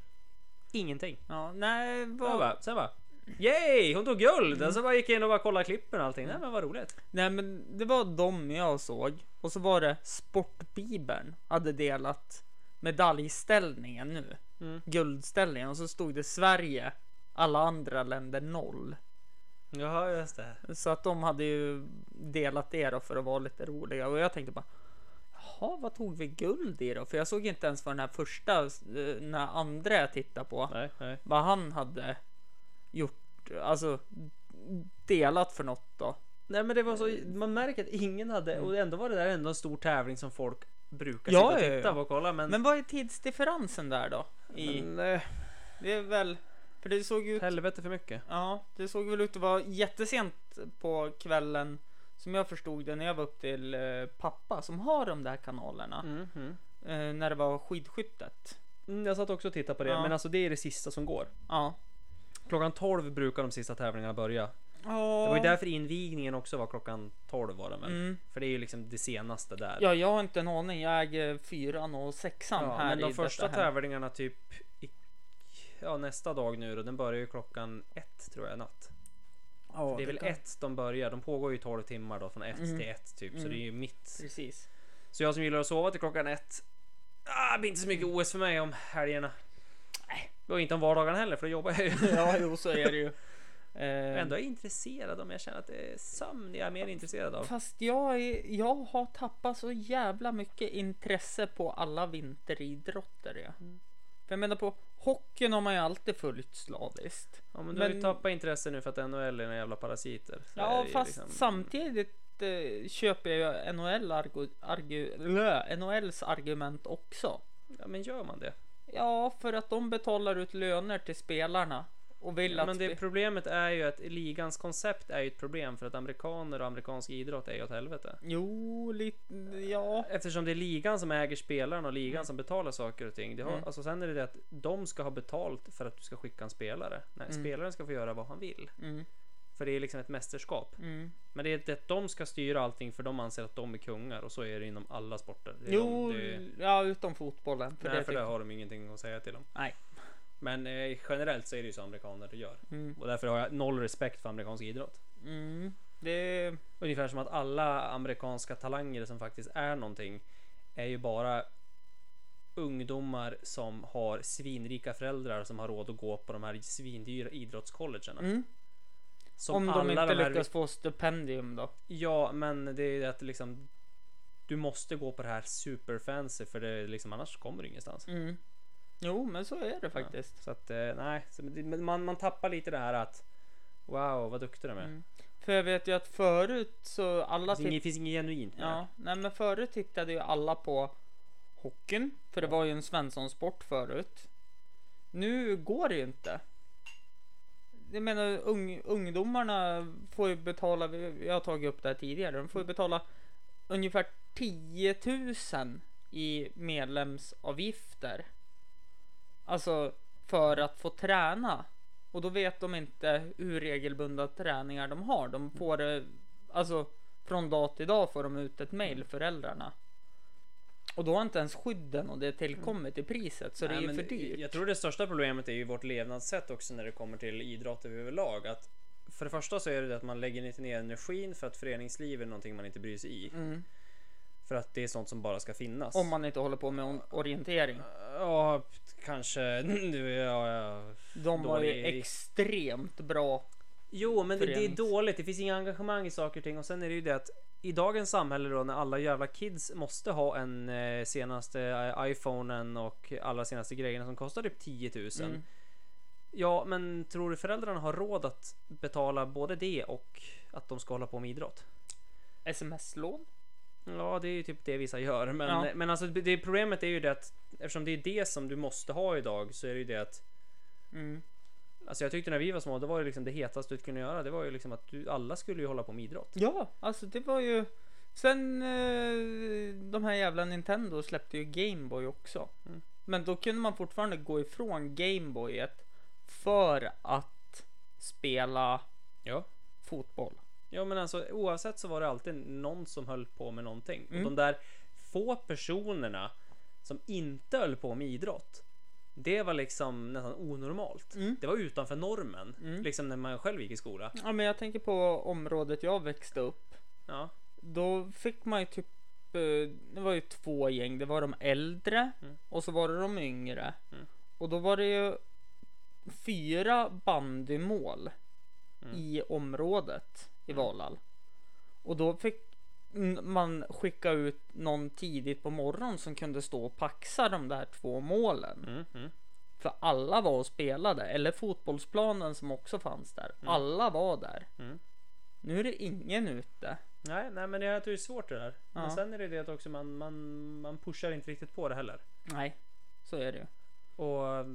S3: Ingenting.
S2: ja, nej,
S3: Och jag
S2: vad...
S3: bara, sen bara Yay! Hon tog guld! Och så bara gick jag in och bara kollade klippen och allting. Nej men vad roligt.
S2: Nej men det var dem jag såg och så var det Sportbibeln hade delat medaljställningen nu.
S3: Mm.
S2: Guldställningen och så stod det Sverige, alla andra länder noll.
S3: Jaha just det.
S2: Så att de hade ju delat det då för att vara lite roliga och jag tänkte bara Jaha, vad tog vi guld i då? För jag såg inte ens vad den här första, eh, den här andra jag tittade på,
S3: Nej, nej.
S2: vad han hade gjort, alltså delat för något då.
S3: Nej men det var så, man märker att ingen hade, och ändå var det där ändå en stor tävling som folk brukar
S2: Ja,
S3: sitta och
S2: ja, ja.
S3: titta på och kolla. Men,
S2: Men vad är tidsdifferensen där då? I,
S3: Men, eh,
S2: Det är väl... För det såg ut...
S3: helvete för mycket.
S2: Ja, det såg väl ut att vara jättesent på kvällen. Som jag förstod det när jag var upp till eh, pappa som har de där kanalerna.
S3: Mhm.
S2: Eh, när det var skidskyttet.
S3: Mm, jag satt också och tittade på det,
S2: Ja.
S3: men alltså det är det sista som går.
S2: Ja.
S3: Klockan 12 brukar de sista tävlingarna börja.
S2: Ja.
S3: Det var ju därför invigningen också var klockan 12 var den väl?
S2: Mm.
S3: För det är ju liksom det senaste där.
S2: Ja, jag har inte en aning. Jag äger fyran och sexan
S3: Ja,
S2: här
S3: men
S2: i
S3: de första
S2: detta hem.
S3: tävlingarna typ i, ja, nästa dag nu då, den börjar ju klockan ett tror jag natt.
S2: Ja,
S3: det är väl
S2: kan-
S3: ett de börjar, de pågår ju 12 timmar då från ett
S2: Mm.
S3: till ett typ, så
S2: Mm.
S3: det är ju mitt.
S2: Precis. [LAUGHS]
S3: Så jag som gillar att sova till klockan ett, ah, det blir inte så
S2: Mm.
S3: mycket OS för mig om helgerna. Nej, Och inte om vardagarna heller för då jobbar jag ju.
S2: Ja, jo, så är det ju. Eh,
S3: [LAUGHS] Ändå är jag intresserad om jag känner att det är sömn jag är mer intresserad av.
S2: Fast jag, är, jag har tappat så jävla mycket intresse på alla vinteridrotter. Ja. För jag menar på hockeyn har man ju alltid följt slaviskt.
S3: Ja, men du har ju
S2: Men-
S3: tappat intresse nu för att NHL är några jävla parasiter. Så är
S2: Ja,
S3: det ju
S2: fast
S3: liksom-
S2: Eh, samtidigt eh, köper jag ju NHL argu, argu, lö, NHLs argument också.
S3: Ja, men gör man det?
S2: Ja, för att de betalar ut löner till spelarna och vill
S3: Ja,
S2: att...
S3: men det
S2: spe-
S3: problemet är ju att ligans koncept är ju ett problem för att amerikaner och amerikansk idrott är ju åt helvete.
S2: Jo, lite... Ja.
S3: Eftersom det är ligan som äger spelarna och ligan som betalar saker och ting. Det har,
S2: Mm.
S3: alltså, sen är det det att de ska ha betalt för att du ska skicka en spelare. Nej, spelaren ska få göra vad han vill.
S2: Mm,
S3: För det är liksom ett mästerskap.
S2: mm.
S3: Men det är det att de ska styra allting för de anser att de är kungar och så är det inom alla sporter. Det är
S2: Jo,
S3: de, det är,
S2: ja, utom fotbollen. För
S3: för nej,
S2: det
S3: för
S2: tycker-
S3: det har de ingenting att säga till om.
S2: Nej.
S3: Men eh, generellt så är det ju så amerikaner gör.
S2: Mm.
S3: Och därför har jag noll respekt för amerikansk idrott.
S2: Mm. Det...
S3: Ungefär som att alla amerikanska talanger som faktiskt är någonting är ju bara ungdomar som har svinrika föräldrar som har råd att gå på de här svindyra idrottscollegerna.
S2: Mm.
S3: Som
S2: Om de
S3: alla
S2: inte
S3: här-
S2: lyckas få stipendium då.
S3: Ja, men det är ju det att liksom du måste gå på det här superfancy för det är liksom annars kommer du ingenstans.
S2: Mm. Jo, men så är det faktiskt.
S3: Så att eh, nej, så det- men man, man tappar lite det här att wow vad duktig de är.
S2: Mm. För jag vet ju att förut så alla
S3: Det finns
S2: titt-
S3: inget- finns inget genuint med det.
S2: Alltså, ja, nej, men förut tittade ju alla på hockeyn. För det var ju en Svenssonsport förut. Nu går det ju inte. jag menar ung, ungdomarna får ju betala, jag har tagit upp det här tidigare, de får ju betala ungefär 10 000 i medlemsavgifter. Alltså för att få träna. Och då vet de inte hur regelbundna träningar de har. De får det, alltså från dag till dag får de ut ett mejl,
S3: Mm.
S2: föräldrarna. Och då har inte ens skydden och det tillkommit i priset så
S3: Mm. Nej,
S2: det är
S3: men
S2: ju för dyrt.
S3: Jag tror det största problemet är ju vårt levnadssätt också när det kommer till idrott överlag. Att för det första så är det det att man lägger inte ner energin för att föreningsliv är någonting man inte bryr sig i.
S2: Mm.
S3: För att det är sånt som bara ska finnas.
S2: Om man inte håller på med on- orientering.
S3: Ja, kanske... [LAUGHS] Nu är jag...
S2: De var ju
S3: dålig-
S2: extremt bra.
S3: Jo, men det, det är
S2: Förenings-
S3: dåligt. Det finns inga engagemang i saker och ting. Och sen är det ju det att i dagens samhälle då när alla jävla kids måste ha en eh, senaste eh, iPhonen och alla senaste grejerna som kostar typ 10 000.
S2: Mm.
S3: Ja, men tror du föräldrarna har råd att betala både det och att de ska hålla på med idrott?
S2: Sms-lån?
S3: Ja, det är ju typ det vissa gör, men,
S2: Ja.
S3: men alltså det problemet är ju det att eftersom det är det som du måste ha idag så är det ju det att
S2: Mm.
S3: Alltså jag tyckte när vi var små, det var ju liksom det hetaste du kunde göra. Det var ju liksom att du, alla skulle ju hålla på med idrott.
S2: Ja, alltså det var ju... Sen eh, de här jävla Nintendo släppte ju Gameboy också.
S3: Mm.
S2: Men då kunde man fortfarande gå ifrån Gameboyet för att spela
S3: Ja.
S2: fotboll.
S3: Ja men alltså oavsett så var det alltid någon som höll på med någonting.
S2: Mm.
S3: Och de där få personerna som inte höll på med idrott. Det var liksom nästan onormalt.
S2: Mm.
S3: Det var utanför normen.
S2: Mm.
S3: Liksom när man själv gick i skola.
S2: Ja, men jag tänker på området jag växte upp.
S3: Ja.
S2: Då fick man ju typ, eh, det var ju två gäng. Det var de äldre
S3: Mm.
S2: och så var det de yngre.
S3: Mm.
S2: Och då var det ju fyra bandymål
S3: Mm.
S2: i området i Valhall. Och då fick n- man skicka ut någon tidigt på morgonen som kunde stå och paxa de där två målen.
S3: Mm, mm.
S2: För alla var och spelade. Eller fotbollsplanen som också fanns där. Alla var där.
S3: Mm.
S2: Nu är det ingen ute.
S3: Nej, nej men det jag tror det är svårt det där. Men
S2: Ja.
S3: sen är det det att också man, man, man pushar inte riktigt på det heller.
S2: Nej, så är det ju.
S3: Och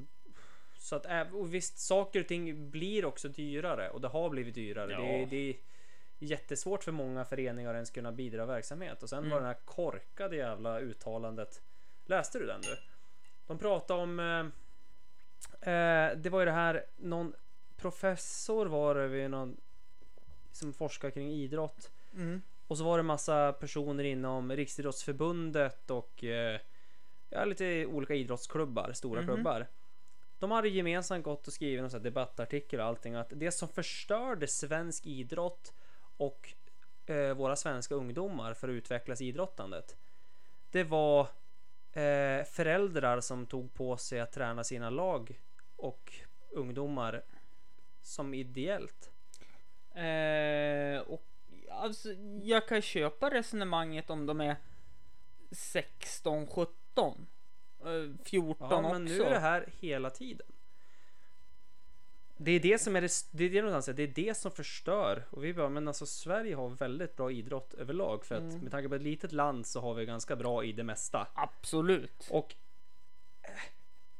S3: så att äv- och visst, saker och ting blir också dyrare och det har blivit dyrare.
S2: Ja.
S3: Det, är- det är jättesvårt för många föreningar att ens kunna bidra verksamhet. Och sen var det här korkade jävla uttalandet. Läste du den du? De pratade om... Eh, eh, det var ju det här, någon professor var det vid någon som forskar kring idrott.
S2: Mm.
S3: Och så var det massa personer inom Riksidrottsförbundet och eh, ja, lite olika idrottsklubbar, stora
S2: Mhm.
S3: klubbar. De hade gemensamt gått och skrivit en sån här debattartikel och allting att det som förstörde svensk idrott och eh, våra svenska ungdomar för att utvecklas i idrottandet. Det var eh, föräldrar som tog på sig att träna sina lag och ungdomar som ideellt.
S2: Eh, och, alltså, jag kan köpa resonemanget om de är 16, 17, eh, 14
S3: Ja, men
S2: också.
S3: nu är det här hela tiden. Det är det som är det, det är det någonstans, det är det som förstör. Och vi bara, men alltså Sverige har väldigt bra idrott överlag för att med tanke på ett litet land så har vi ganska bra i det mesta.
S2: Absolut.
S3: Och eh,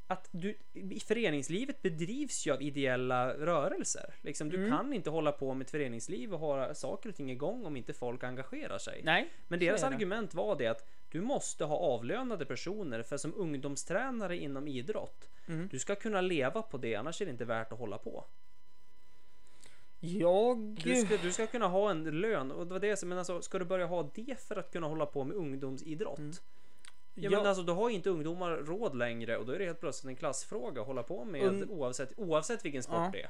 S3: att du, i föreningslivet bedrivs ju av ideella rörelser. Liksom, du kan inte hålla på med ett föreningsliv och ha saker och ting igång om inte folk engagerar sig.
S2: Nej,
S3: Men
S2: så
S3: deras
S2: är det.
S3: argument var det att du måste ha avlönade personer för som ungdomstränare inom idrott.
S2: Mm.
S3: Du ska kunna leva på det, annars är det inte värt att hålla på.
S2: Jag...
S3: Du ska, du ska kunna ha en lön och det var det som, men alltså, ska du börja ha det för att kunna hålla på med ungdomsidrott? Ja, men
S2: Mm. Ja.
S3: alltså, då har ju inte ungdomar råd längre och då är det helt plötsligt en klassfråga att hålla på med
S2: Und-
S3: oavsett, oavsett vilken sport
S2: Ja.
S3: det är.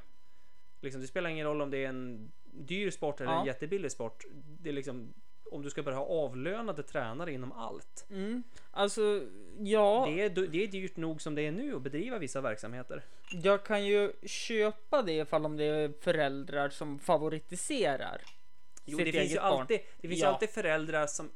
S3: Liksom, det spelar ingen roll om det är en dyr sport eller en
S2: Ja.
S3: jättebillig sport. Det är liksom, om du ska börja ha avlönade tränare inom allt.
S2: Mm, alltså, ja.
S3: Det är, det är dyrt nog som det är nu att bedriva vissa verksamheter.
S2: Jag kan ju köpa det ifall om det är föräldrar som favoritiserar.
S3: Jo,
S2: sitt
S3: det finns,
S2: eget
S3: ju
S2: barn.
S3: alltid, det finns
S2: Ja.
S3: ju alltid föräldrar som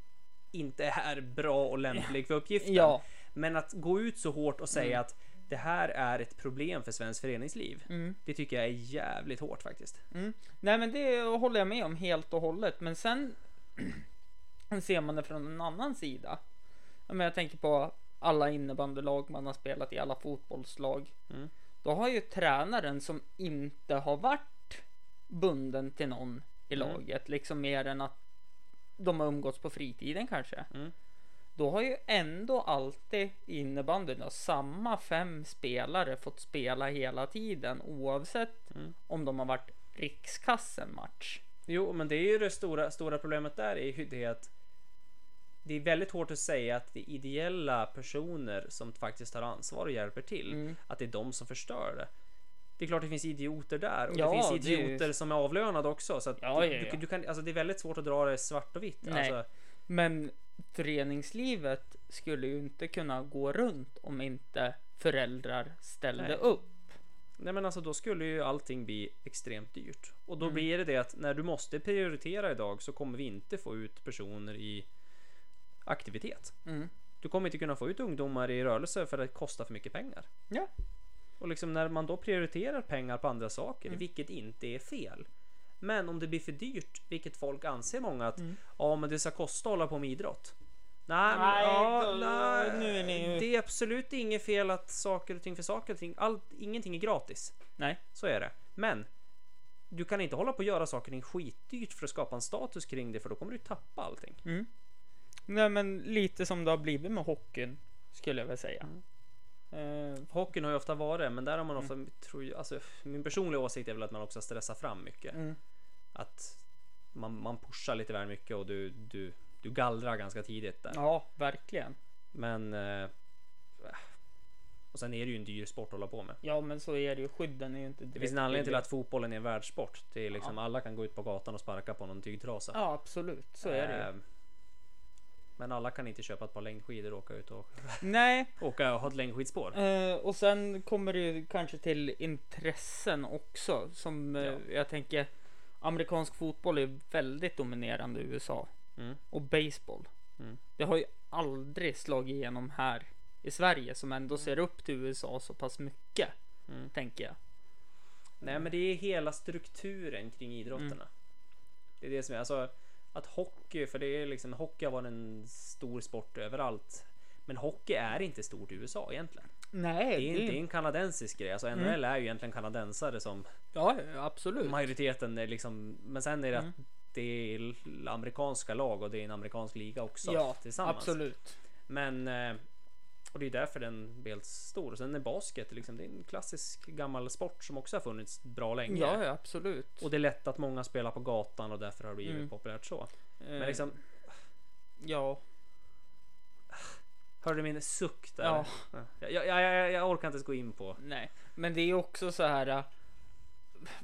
S3: inte är bra och lämplig för uppgiften.
S2: Ja. Mm.
S3: Men att gå ut så hårt och säga att det här är ett problem för svenskt föreningsliv. Det tycker jag är jävligt hårt faktiskt.
S2: Mm. Nej men det håller jag med om helt och hållet. Men sen [CLEARS THROAT] ser man det från en annan sida. Ja, Men jag tänker på alla innebandylag man har spelat i, alla fotbollslag.
S3: Mm.
S2: Då har ju tränaren som inte har varit bunden till någon i
S3: Mm.
S2: laget, liksom mer än att de har umgåtts på fritiden kanske.
S3: Mm.
S2: Då har ju ändå alltid i innebandyn då, samma fem spelare fått spela hela tiden oavsett
S3: Mm.
S2: om de har varit rikskassen match.
S3: Jo, men det är ju det stora, stora problemet där är ju det att det är väldigt hårt att säga att det är ideella personer som faktiskt tar ansvar och hjälper till.
S2: Mm.
S3: Att det är de som förstör det. Det är klart det finns idioter där och
S2: Ja,
S3: det finns
S2: det är ju-
S3: idioter som är avlönade också. Så att
S2: Ja,
S3: du,
S2: ja, ja.
S3: Du, du kan, alltså det är väldigt svårt att dra det svart och vitt.
S2: Nej.
S3: Alltså,
S2: Men föreningslivet skulle ju inte kunna gå runt om inte föräldrar ställde
S3: Nej.
S2: upp.
S3: nej men alltså då skulle ju allting bli extremt dyrt. Och
S2: Mm.
S3: då blir det det att när du måste prioritera idag så kommer vi inte få ut personer i aktivitet.
S2: Mm.
S3: Du kommer inte kunna få ut ungdomar i rörelse för det kostar för mycket pengar.
S2: Ja.
S3: Och liksom när man då prioriterar pengar på andra saker,
S2: Mm.
S3: vilket inte är fel. Men om det blir för dyrt, vilket folk anser många
S2: Mm.
S3: att ja, men det ska kosta att hålla på med idrott. Nej, men,
S2: Nej,
S3: ja,
S2: då-
S3: nej,
S2: nu är ni ju-
S3: det är absolut inget fel att saker och ting för saker och ting, allt, ingenting är gratis.
S2: Nej.
S3: Så är det. Men du kan inte hålla på och göra saker och ting skitdyrt för att skapa en status kring det, för då kommer du tappa allting.
S2: Nej men lite som det har blivit med hockeyn skulle jag väl säga.
S3: Mm.
S2: Eh,
S3: Hockeyn har ju ofta varit, men där har man ofta,
S2: Mm.
S3: tror jag, alltså, min personliga åsikt är väl att man också stressar fram mycket.
S2: Mm.
S3: Att man, man pushar lite väl mycket och du, du, du gallrar ganska tidigt där.
S2: ja, verkligen.
S3: Men... Eh, och sen är det ju en dyr sport att hålla på med.
S2: Ja, men så är det ju. Skydden är ju inte
S3: Det finns en
S2: direkt
S3: anledning till
S2: billiga.
S3: att fotbollen är en världssport. Det är liksom, Alla kan gå ut på gatan och sparka på någon tygtrasa.
S2: Ja, absolut. Så är det ju.
S3: Eh, Men alla kan inte köpa ett par längdskidor och åka ut och
S2: Nej,
S3: åka och ha ett längdskidspår.
S2: Eh, och sen kommer det ju kanske till intressen också som eh,
S3: Ja.
S2: jag tänker Amerikansk fotboll är väldigt dominerande i USA
S3: Mm.
S2: och baseball.
S3: Mm.
S2: Det har ju aldrig slagit igenom här i Sverige som ändå ser upp till USA så pass mycket
S3: Mm.
S2: tänker jag.
S3: Nej, men det är hela strukturen kring idrotterna.
S2: Mm.
S3: Det är det som är alltså att hockey, för det är liksom hockey har varit en stor sport överallt. Men hockey är inte stort i USA egentligen.
S2: Nej,
S3: Det är, det är en kanadensisk grej.
S2: Mm.
S3: Alltså NHL är ju egentligen kanadensare som
S2: Ja, ja, absolut.
S3: majoriteten är liksom. Men sen är det
S2: Mm.
S3: att det är l- amerikanska lag och det är en amerikansk liga också
S2: ja,
S3: tillsammans.
S2: absolut.
S3: Men eh, och det är därför den blir helt stor. Och sen är basket liksom, det är en klassisk gammal sport som också har funnits bra länge.
S2: Ja, ja, absolut.
S3: Och det är lätt att många spelar på gatan och därför har det blivit populärt så. Men
S2: Eh,
S3: liksom,
S2: ja,
S3: hörde du min suck där?
S2: Ja.
S3: Jag, jag, jag, jag orkar inte ens gå in på.
S2: Nej, men det är också så här. äh,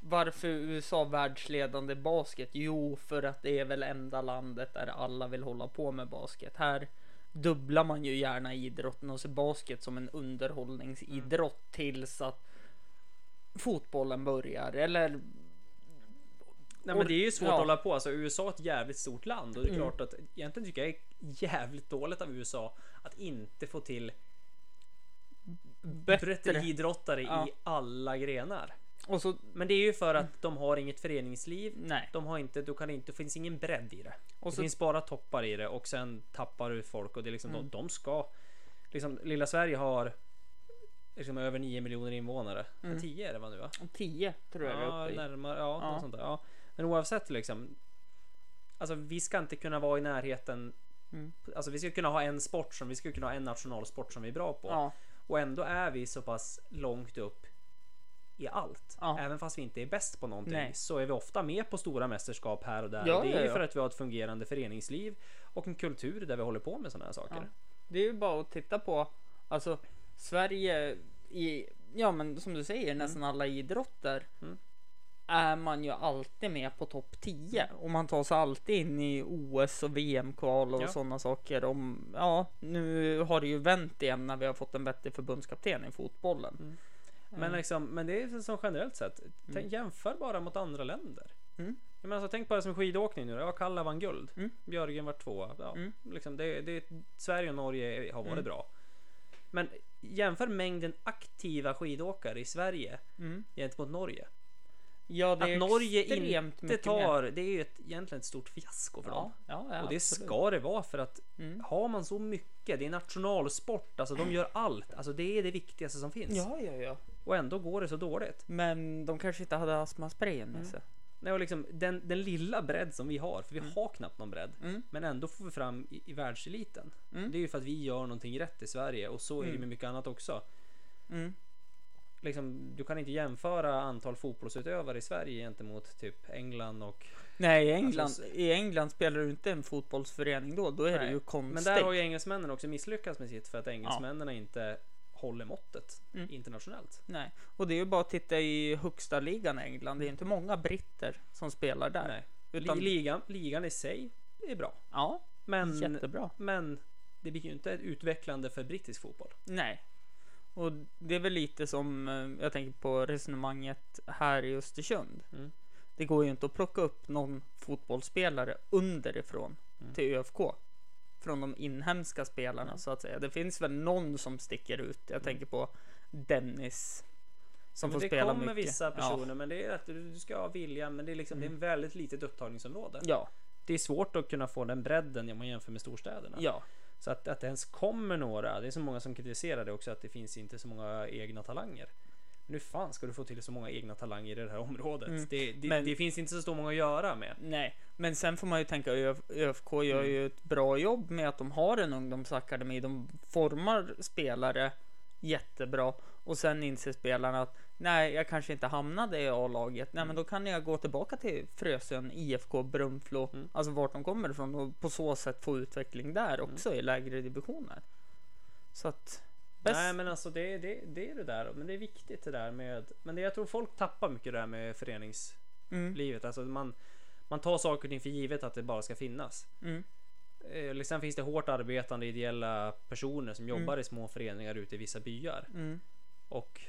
S2: Varför är USA världsledande i basket? Jo, för att det är väl enda landet där alla vill hålla på med basket. Här dubblar man ju gärna idrotten och ser basket som en underhållningsidrott
S3: Mm.
S2: tills att fotbollen börjar eller
S3: Nej, men det är ju svårt
S2: Ja.
S3: att hålla på. Alltså, USA är ett jävligt stort land och det är klart att egentligen tycker jag är jävligt dåligt av USA att inte få till bättre
S2: bättre.
S3: idrottare
S2: Ja.
S3: i alla grenar.
S2: Och så
S3: Men det är ju för att de har inget föreningsliv.
S2: nej.
S3: De har inte, du kan inte, det finns ingen bredd i det.
S2: Och
S3: det
S2: så-
S3: finns bara toppar i det och sen tappar du folk och det är liksom
S2: Mm.
S3: de, de ska. Liksom, lilla Sverige har liksom över 9 miljoner invånare. 10 är det va nu va?
S2: 10 Mm. tror jag
S3: Ja,
S2: det är uppe i.
S3: närmare, ja,
S2: Ja.
S3: Något sånt där. ja. Men oavsett liksom. Alltså vi ska inte kunna vara i närheten.
S2: Mm.
S3: Alltså vi ska kunna ha en sport som vi ska kunna ha en nationalsport som vi är bra på.
S2: Ja,
S3: Och ändå är vi så pass långt upp i allt.
S2: Ja.
S3: Även fast vi inte är bäst på någonting
S2: Nej.
S3: så är vi ofta med på stora mästerskap här och där.
S2: Ja,
S3: och det är
S2: ja,
S3: ju
S2: ja.
S3: för att vi har ett fungerande föreningsliv och en kultur där vi håller på med sådana här saker.
S2: Det är ju bara att titta på alltså Sverige i, ja men som du säger, nästan alla idrotter
S3: Mm.
S2: är man ju alltid med på topp 10
S3: Mm.
S2: och man tar sig alltid in i OS och VM-kval och
S3: Ja.
S2: sådana saker. Om, ja, nu har det ju vänt igen när vi har fått en vettig förbundskapten i fotbollen.
S3: Mm. Men, liksom, men det är som generellt sett. Tänk, Jämför bara mot andra länder.
S2: Mm.
S3: Jag menar, alltså, tänk bara som skidåkning nu. då. Ja, Kalla vann guld.
S2: Mm.
S3: Björgen var tvåa. Ja, liksom, det, det, Sverige och Norge har varit
S2: Mm.
S3: bra. Men jämför mängden aktiva skidåkare i Sverige
S2: Mm.
S3: gentemot Norge.
S2: Ja, det är
S3: Att Norge
S2: extremt
S3: inte
S2: mycket mer.
S3: tar, det är ju ett, egentligen ett stort fiasko för
S2: Ja, Mm.
S3: dem.
S2: ja,
S3: Och det ska det vara för att har man så mycket, det är nationalsport, alltså de gör allt. Alltså det är det viktigaste som finns.
S2: Ja, ja, ja.
S3: Och ändå går det så dåligt.
S2: Men de kanske inte hade astmasprayen
S3: Mm.
S2: med sig.
S3: Nej, och liksom den, den lilla bredd som vi har, för vi
S2: Mm.
S3: har knappt någon bredd. Men ändå får vi fram i, i världseliten.
S2: Mm.
S3: Det är ju för att vi gör någonting rätt i Sverige och så är det med mycket annat också.
S2: Mm.
S3: Liksom, du kan inte jämföra antal fotbollsutövare i Sverige gentemot typ England och...
S2: Nej, i England,
S3: Alltså,
S2: i England spelar du inte en fotbollsförening då. Då är det
S3: Nej.
S2: ju
S3: Men
S2: konstigt.
S3: där har ju engelsmännen också misslyckats med sitt för att engelsmännen inte håller måttet internationellt.
S2: Nej, och det är ju bara att titta i högsta ligan i England. Det är inte många britter som spelar där.
S3: Nej.
S2: Utan-
S3: Li- Ligan, ligan i sig är bra.
S2: Ja,
S3: Men,
S2: jättebra.
S3: men det blir ju inte utvecklande för brittisk fotboll.
S2: Nej. Och det är väl lite som eh, jag tänker på resonemanget här i Östersund.
S3: Mm.
S2: Det går ju inte att plocka upp någon fotbollsspelare underifrån
S3: Mm.
S2: till ÖFK. Från de inhemska spelarna så att säga. Det finns väl någon som sticker ut. Jag tänker på Dennis. Som
S3: Mm.
S2: får
S3: Men det
S2: spela
S3: kommer
S2: mycket.
S3: vissa personer,
S2: Ja.
S3: men det är att du du ska ha vilja, men det är, liksom, det är en väldigt litet upptagningsområde.
S2: Ja,
S3: Det är svårt att kunna få den bredden om man jämför med storstäderna.
S2: ja,
S3: Så att, att det ens kommer några, det är så många som kritiserar det också, att det finns inte så många egna talanger. Men hur fan ska du få till så många egna talanger i det här området? Det, det,
S2: Mm. Men-
S3: det finns inte så stor många att göra med.
S2: nej. Men sen får man ju tänka Ö- ÖFK gör
S3: Mm.
S2: ju ett bra jobb med att de har en ungdomsakademi. De formar spelare jättebra och sen inser spelarna att nej, jag kanske inte hamnade i A-laget. Nej,
S3: Mm.
S2: men då kan jag gå tillbaka till Frösön, IFK, Brunflo,
S3: Mm.
S2: alltså vart de kommer ifrån och på så sätt få utveckling där
S3: Mm.
S2: också i lägre divisioner. Så att bäst.
S3: Nej men alltså det, det, det är det där, men det är viktigt det där med, men det, jag tror folk tappar mycket det där
S2: Mm.
S3: med föreningslivet. Alltså man, man tar saker och ting för givet att det bara ska finnas.
S2: Mm.
S3: Eh, eller Sen finns det hårt arbetande ideella personer som jobbar i små föreningar ute i vissa byar.
S2: Mm.
S3: Och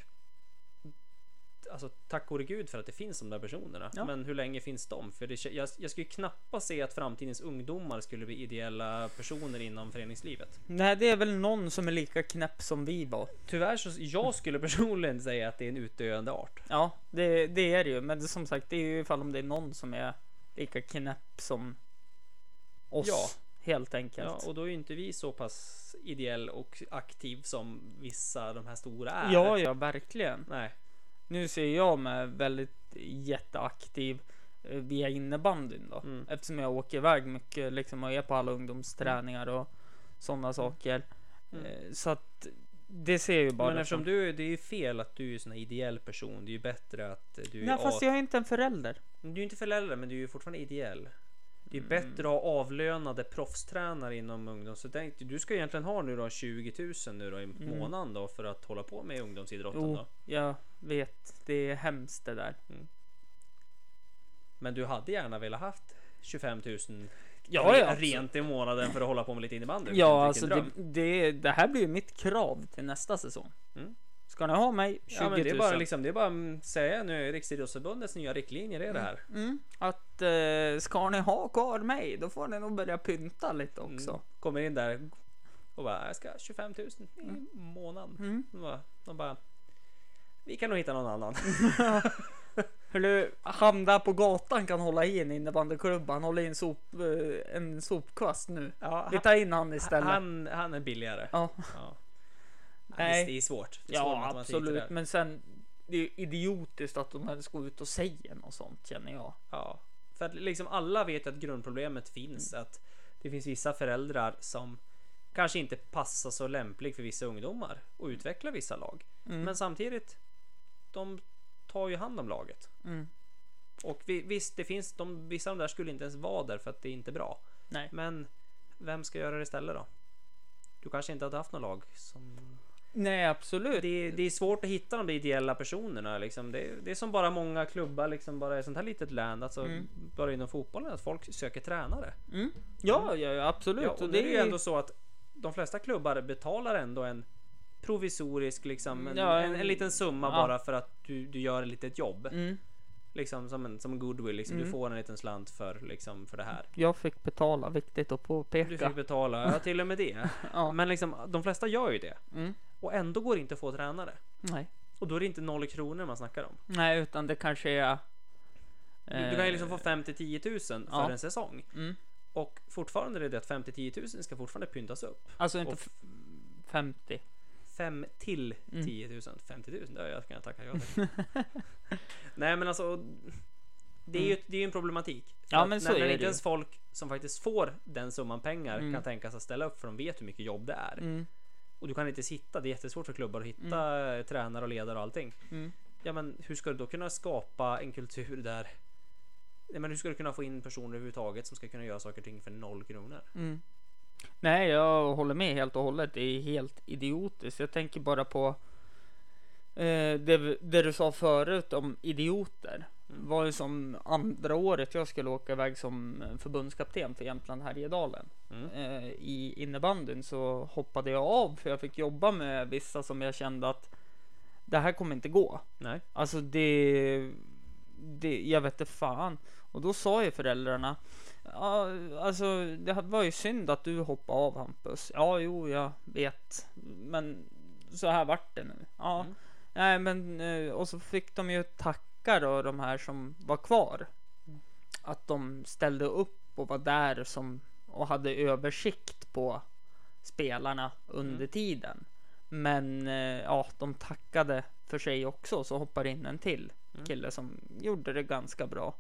S3: Alltså tack vare gud för att det finns de där personerna.
S2: Ja.
S3: Men hur länge finns de? För det, jag, jag skulle knappast se att framtidens ungdomar skulle bli ideella personer inom föreningslivet.
S2: Nej, det är väl någon som är lika knäpp som vi var.
S3: Tyvärr så jag skulle [LAUGHS] personligen säga att det är en utdöende art.
S2: Ja, det, det är det ju. Men det, som sagt, det är ju ifall om det är någon som är lika knäpp som oss.
S3: Ja.
S2: Helt enkelt. Ja,
S3: Ja, och då är ju inte vi så pass ideell och aktiv som vissa de här stora är.
S2: ja, verkligen.
S3: Nej.
S2: Nu ser jag mig väldigt jätteaktiv eh, via innebandyn då.
S3: Mm.
S2: Eftersom jag åker iväg mycket liksom, och är på alla ungdomsträningar
S3: Mm.
S2: och sådana saker. Eh, Så att det ser jag ju bara
S3: Men eftersom
S2: som-
S3: du, det är ju fel att du är en sån här ideell person. Det är ju bättre att du är
S2: Nej, fast
S3: A-
S2: jag är inte en förälder.
S3: Du är ju inte förälder men du är ju fortfarande ideell. Det är
S2: Mm.
S3: ju bättre att ha avlönade proffstränare inom ungdom. Så tänk, du ska egentligen ha nu då 20 000 nu då i månaden då för att hålla på med ungdomsidrotten
S2: Mm. Jo,
S3: då.
S2: Oh, jag vet. Det är hemskt det där.
S3: Men du hade gärna velat haft 25 000
S2: Ja,
S3: re-
S2: ja, absolut.
S3: rent i månaden för att hålla på med lite innebandy. Vilken-
S2: Ja,
S3: vilken
S2: alltså det,
S3: dröm.
S2: det, det här blir ju mitt krav till nästa säsong.
S3: Mm.
S2: Ska ni ha mig 20
S3: Ja,
S2: 000?
S3: men det är bara liksom, det är bara mm, säga nu Riksidrottsförbundets nya riktlinjer är det här.
S2: mm, att eh, ska ni ha kvar mig, då får ni nog börja pynta lite också.
S3: Mm. Kommer in där och bara, jag ska ha 25 000 i
S2: Mm.
S3: månaden. De, bara, de bara, vi kan nog hitta någon annan.
S2: Mm. Hörru, han där på gatan kan hålla i en innebandyklubba. Han håller i en, sop, eh, en sopkvast nu.
S3: Ja,
S2: Vi tar in han istället.
S3: Han, han är billigare.
S2: ja.
S3: Ja.
S2: Nej.
S3: Nej. Det är svårt. Det är svår
S2: ja,
S3: matematik det
S2: absolut.
S3: där.
S2: Men sen, det är ju idiotiskt att de ens går ut och säger något sånt känner jag.
S3: Ja. För att liksom alla vet att grundproblemet finns.
S2: Mm.
S3: Att det finns vissa föräldrar som kanske inte passar så lämplig för vissa ungdomar och
S2: Mm.
S3: utvecklar vissa lag. Men samtidigt, de tar ju hand om laget.
S2: Mm.
S3: Och vi, visst, det finns de, vissa av de där skulle inte ens vara där för att det är inte bra.
S2: Nej.
S3: Men vem ska göra det istället då? Du kanske inte hade haft något lag som
S2: Nej, absolut.
S3: det, det är svårt att hitta de där ideella personerna. Liksom. Det, det är som bara många klubbar liksom, bara i sånt här litet län, alltså, bara inom fotbollen, att folk söker tränare.
S2: Mm. Ja, ja, ja, absolut.
S3: Ja, och det är ju ändå så att de flesta klubbar betalar ändå en provisorisk, liksom, en,
S2: Ja,
S3: en, en liten summa
S2: ja.
S3: bara för att du, du gör ett litet jobb.
S2: Mm.
S3: Liksom, som, en, som en goodwill, liksom. du får en liten slant för, liksom, för det här.
S2: Jag fick betala, viktigt att påpeka.
S3: Du fick betala, ja till och med det.
S2: Ja.
S3: Men liksom, de flesta gör ju det.
S2: Mm.
S3: Och ändå går det inte att få tränare.
S2: Nej.
S3: Och då är det inte noll kronor man snackar om.
S2: Nej, utan det kanske är...
S3: Du, du kan ju liksom få 5 till 10 000 för
S2: ja.
S3: en säsong.
S2: Mm.
S3: Och fortfarande är det det att 5 till 10 000 ska fortfarande pyntas upp.
S2: Alltså inte
S3: Och-
S2: f- 50.
S3: fem till
S2: Mm.
S3: 10 000. 50 000, det har jag kunnat tacka ja till. [LAUGHS] Nej men alltså. Det är ju det är ju en problematik. För
S2: Mm. Ja,
S3: att
S2: men så
S3: när,
S2: är
S3: när
S2: det
S3: inte
S2: ju.
S3: ens folk som faktiskt får den summan pengar
S2: Mm.
S3: kan tänka sig att ställa upp för de vet hur mycket jobb det är.
S2: Mm.
S3: Och du kan inte sitta, det är jättesvårt för klubbar att hitta eh, tränare och ledare och allting.
S2: Mm.
S3: Ja men hur ska du då kunna skapa en kultur där Nej, men hur ska du kunna få in personer överhuvudtaget som ska kunna göra saker och ting för noll kronor?
S2: Mm. Nej, jag håller med helt och hållet. Det är helt idiotiskt. Jag tänker bara på eh, det, det du sa förut om idioter. Det var ju som andra året jag skulle åka iväg som förbundskapten för Jämtland Härjedalen.
S3: Mm.
S2: Eh, I innebandyn så hoppade jag av för jag fick jobba med vissa som jag kände att det här kommer inte gå.
S3: Nej.
S2: Alltså det, det jag vet inte fan. Och då sa ju föräldrarna, ja, alltså det här var ju synd att du hoppade av Hampus. Ja, jo, jag vet, men så här vart det nu. Ja,
S3: Mm.
S2: nej, men eh, och så fick de ju tacka då de här som var kvar. Att de ställde upp och var där som och hade översikt på spelarna under tiden. Men eh, ja, de tackade för sig också så hoppar in en till
S3: Mm.
S2: kille som gjorde det ganska bra.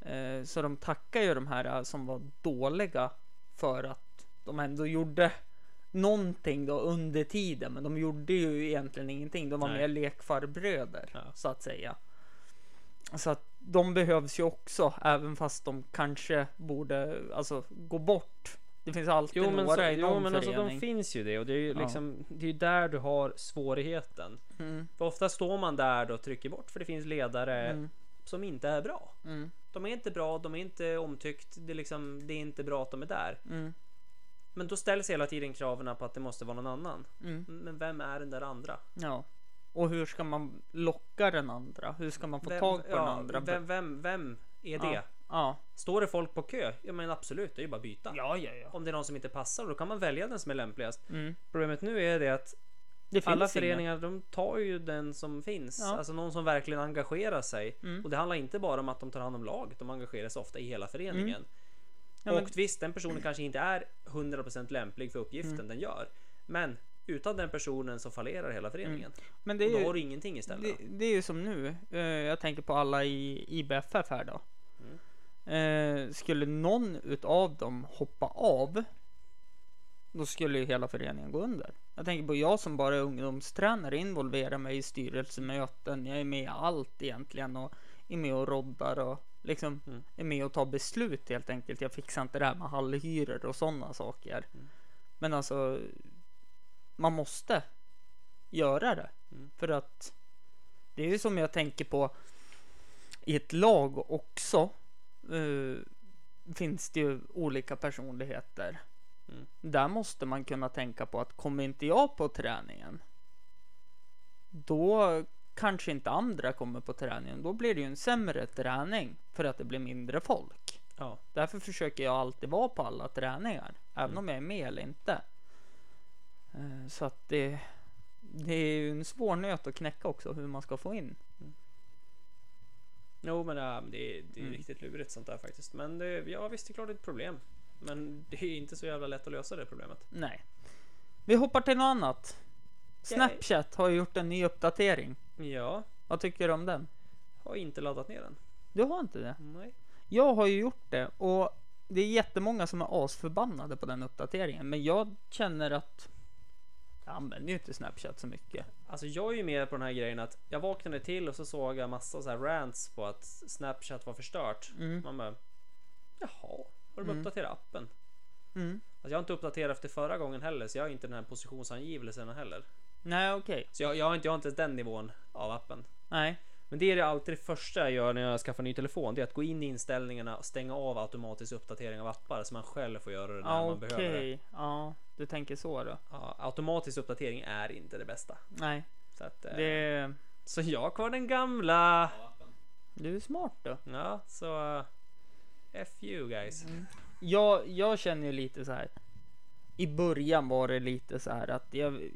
S2: Eh, så de tackar ju de här eh, som var dåliga för att de ändå gjorde någonting då under tiden. Men de gjorde ju egentligen ingenting. De var
S3: Nej.
S2: mer lekfarbröder
S3: Ja.
S2: så att säga. Så att de behövs ju också, även fast de kanske borde alltså gå bort. Det finns alltid
S3: Jo men, så,
S2: några i någon
S3: jo, men alltså de
S2: förening.
S3: finns ju det och det är ju
S2: Ja.
S3: liksom Det är ju där du har svårigheten.
S2: mm,
S3: För ofta står man där då och trycker bort för det finns ledare
S2: Mm.
S3: som inte är bra.
S2: mm,
S3: De är inte bra, de är inte omtyckt, det är, liksom, det är inte bra att de är där.
S2: mm,
S3: Men då ställs hela tiden kraven på att det måste vara någon annan.
S2: mm.
S3: Men vem är den där andra?
S2: Ja. Och hur ska man locka den andra? Hur ska man få
S3: vem,
S2: tag på
S3: ja,
S2: den andra?
S3: Vem, vem, vem är
S2: Ja.
S3: det?
S2: Ja.
S3: Står det folk på kö? Ja men absolut, det är ju bara att byta.
S2: ja, ja, ja.
S3: Om det är någon som inte passar då kan man välja den som är lämpligast.
S2: Mm.
S3: Problemet nu är det att
S2: Det finns
S3: alla
S2: inga.
S3: föreningar de tar ju den som finns.
S2: Ja.
S3: Alltså någon som verkligen engagerar sig.
S2: Mm.
S3: Och det handlar inte bara om att de tar hand om laget. De engagerar sig ofta i hela föreningen.
S2: Mm. Ja, men-
S3: Och visst, den personen kanske inte är 100% lämplig för uppgiften
S2: Mm.
S3: den gör. Men utan den personen så fallerar hela föreningen.
S2: Men Mm. det är
S3: Då
S2: ju,
S3: har du ingenting istället.
S2: det, det är ju som nu. Eh, jag tänker på alla i IBFF här då. Eh, skulle någon utav dem hoppa av. Då skulle ju hela föreningen gå under. Jag tänker på jag som bara är ungdomstränare. Involverar mig i styrelsemöten. Jag är med i allt egentligen. Och är med och roddar och liksom är med och tar beslut helt enkelt. Jag fixar inte det här med hallhyror och sådana saker. Men alltså. Man måste göra det. För att det är ju som jag tänker på i ett lag också. eh, finns det ju olika personligheter.
S3: Mm.
S2: Där måste man kunna tänka på att kommer inte jag på träningen. Då kanske inte andra kommer på träningen. Då blir det ju en sämre träning för att det blir mindre folk.
S3: Ja.
S2: Därför försöker jag alltid vara på alla träningar, även om jag är med eller inte. Eh, Så att det, det är ju en svår nöt att knäcka också hur man ska få in.
S3: Jo men äh, det är, det är
S2: Mm.
S3: riktigt lurigt sånt där faktiskt. Men det, ja visst det är klart det är ett problem. Men det är inte så jävla lätt att lösa det problemet.
S2: Nej. Vi hoppar till något annat. Snapchat har ju gjort en ny uppdatering.
S3: Ja,
S2: Vad tycker du om den?
S3: har inte laddat ner den.
S2: Du har inte det?
S3: Nej.
S2: Jag har ju gjort det och det är jättemånga som är asförbannade på den uppdateringen. Men jag känner att jag använder ju inte Snapchat så mycket.
S3: Alltså jag är ju med på den här grejen att jag vaknade till och så såg jag massa så här rants på att Snapchat var förstört.
S2: Mm.
S3: Man bara, jaha, har de
S2: Mm.
S3: uppdaterat appen?
S2: Mm.
S3: Alltså jag har inte uppdaterat efter förra gången heller så jag har inte den här positionsangivelsen heller.
S2: Nej, okej.
S3: Så jag, jag, har inte, jag har inte den nivån av appen.
S2: Nej.
S3: Men det är det alltid det första jag gör när jag skaffar ny telefon. Det är att gå in i inställningarna och stänga av automatisk uppdatering av appar så man själv får göra det när
S2: Ja,
S3: man
S2: okej.
S3: behöver det.
S2: Ja, du tänker så då.
S3: Ja, automatisk uppdatering är inte det bästa.
S2: Nej,
S3: Så, att, eh,
S2: det...
S3: så jag har kvar den gamla.
S2: Du är smart då.
S3: Ja, så eh, F you guys.
S2: Jag, jag känner ju lite så här. I början var det lite så här att jag,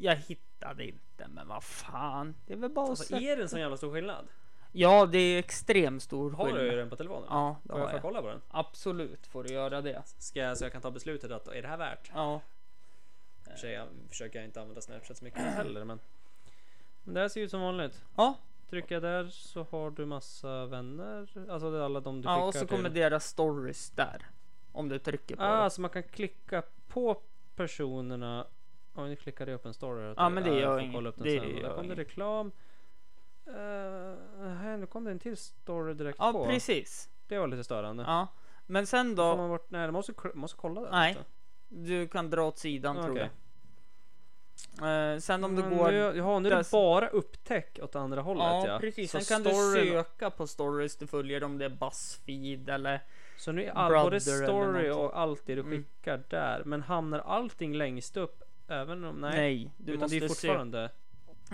S2: jag hittade inte, men vad fan. Det är väl bara att
S3: Alltså,
S2: sätta-
S3: är det en sån jävla stor skillnad?
S2: Ja, det är extremt stor
S3: Har
S2: skillnad.
S3: du den på telefonen?
S2: Ja, det
S3: Får jag
S2: har
S3: få
S2: jag.
S3: kolla Alltså. på den?
S2: Absolut får du göra det.
S3: Ska jag, så jag kan ta beslutet att är det här värt?
S2: Ja.
S3: för sig jag försöker jag inte använda Snapchat så mycket heller men. men. Det här ser ut som vanligt.
S2: Ja,
S3: Trycka där så har du massa vänner. Alltså det är alla de du
S2: ja
S3: skickar
S2: och så kommer
S3: till.
S2: deras stories där. Om du trycker på
S3: Ah,
S2: det.
S3: så man kan klicka på personerna. Oj nu klickade jag upp en story. här.
S2: Ja, men det
S3: Ah, jag
S2: gör
S3: får
S2: inget.
S3: kolla upp den
S2: Det
S3: sen.
S2: gör
S3: Där kom det
S2: inget.
S3: reklam. Uh, här, nu kom det en till story direkt
S2: Ja,
S3: på.
S2: precis.
S3: Det var lite störande.
S2: Ja, men sen
S3: Får
S2: då.
S3: man bort, nej, man måste, kl- måste kolla den.
S2: Nej,
S3: lite.
S2: du kan dra åt sidan tror
S3: Okej.
S2: jag. Eh, sen om du
S3: Men
S2: går...
S3: Nu, jaha, nu är det
S2: dess-
S3: bara upptäck åt andra hållet
S2: ja,
S3: ja.
S2: precis.
S3: Så
S2: Sen kan
S3: storyn-
S2: du söka på stories du följer om det är Buzzfeed eller...
S3: Så nu är all,
S2: Brother
S3: både
S2: eller
S3: story
S2: någonting.
S3: och allt det du
S2: Mm.
S3: skickar där. Men hamnar allting längst upp? Även om, nej.
S2: Nej, du,
S3: utan det är
S2: måste sö-
S3: ju fortfarande.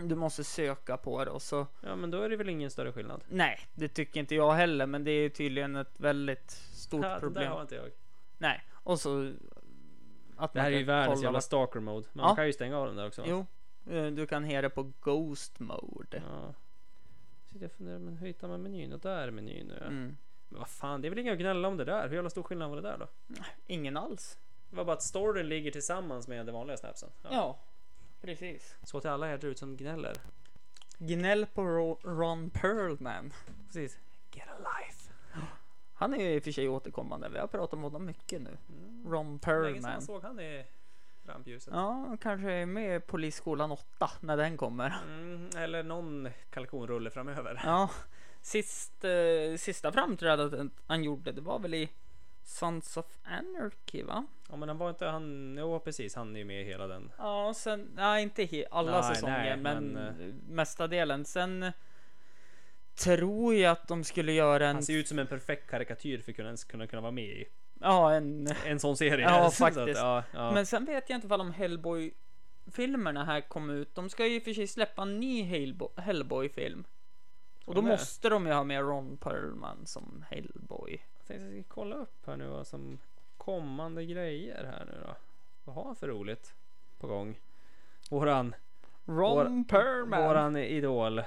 S2: du måste söka på det och så...
S3: Ja men då är det väl ingen större skillnad.
S2: Nej, det tycker inte jag heller, men det är tydligen ett väldigt stort
S3: Ja, det där
S2: problem.
S3: har inte jag.
S2: Nej, och så... Att
S3: Det här
S2: man
S3: är
S2: kan
S3: ju världens
S2: kolla
S3: jävla
S2: vad-
S3: stalker mode. Men
S2: Ja.
S3: man kan ju stänga av den där också. va?
S2: Jo, eh, du kan ha det på Ghost Mode.
S3: Ja. Sitter jag och funderar, men hur hittar man menyn? Och där är menyn nu. ja.
S2: Mm.
S3: Men vad fan, det är väl inget att gnälla om det där? Hur jävla stor skillnad var det där då?
S2: Ingen alls.
S3: Det var bara att storyn ligger tillsammans med den vanliga snapsen. Ja.
S2: precis.
S3: Så till alla er där ute som gnäller.
S2: Gnäll på Ro- Ron Perlman.
S3: Precis. Get a life.
S2: Han är ju i och för sig återkommande. Vi har pratat om honom mycket nu. Ron
S3: Mm. Länge sedan man
S2: Perlman.
S3: såg han i rampljuset.
S2: Ja, han kanske är med i Polisskolan 8 när den kommer.
S3: Mm, eller någon kalkonrulle framöver. [LAUGHS]
S2: Ja, sist, eh, sista framträdandet han gjorde, det var väl i Sons of Anarchy va?
S3: Ja men han var inte han, jo precis han är ju med i hela den.
S2: Ja, sen, nej inte he- alla
S3: Nej,
S2: säsonger,
S3: nej,
S2: men, eh,
S3: men,
S2: mesta delen. Sen eh, tror jag att de skulle göra en,
S3: Han ser ju ut som en perfekt karikatyr för att kunna, ens kunna, kunna vara med i
S2: ja en,
S3: en sån serie.
S2: Ja,
S3: [LAUGHS] Så att,
S2: faktiskt.
S3: ja, ja.
S2: men sen vet jag inte ifall om Hellboy filmerna här kom ut. De ska ju i och för sig släppa en ny Hellbo- Hellboy-film. Och då
S3: de det?
S2: måste de ju ha med Ron Perlman som Hellboy.
S3: Jag tänkte att jag ska kolla upp här nu vad som kommande grejer här nu då. Vad har han för roligt på gång? Våran,
S2: Ron Perlman!
S3: våran idol.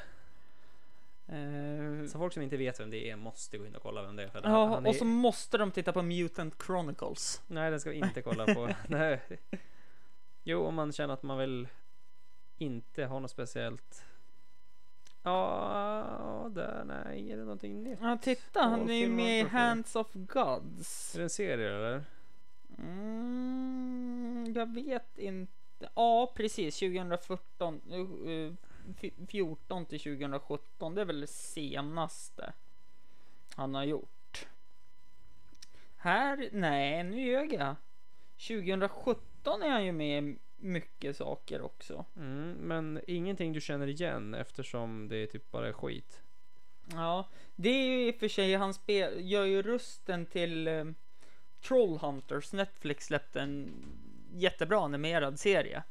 S2: Eh,
S3: Så folk som inte vet vem det är måste gå in och kolla vem det är. För han-
S2: ja,
S3: han är,
S2: och så måste de titta på Mutant Chronicles.
S3: Nej, den ska vi inte kolla [LAUGHS] på. Nej. Jo, om man känner att man vill inte ha något speciellt. Ja, där, nej, är det någonting nytt?
S2: Ja, titta, han är ju
S3: Stålfilm
S2: med i
S3: och profil.
S2: Hands of Gods.
S3: Är det en serie eller?
S2: Mm, jag vet inte. Ja, precis. 2014 eh, eh, fj- 14 till 2017. Det är väl det senaste han har gjort. Här? Nej, nu ljög jag. 2017 är han ju med i mycket saker också.
S3: Mm, men ingenting du känner igen eftersom det är typ bara skit.
S2: Ja, det är ju i och för sig, han spel, gör ju rösten till eh, Trollhunters. Netflix släppte en jättebra animerad serie.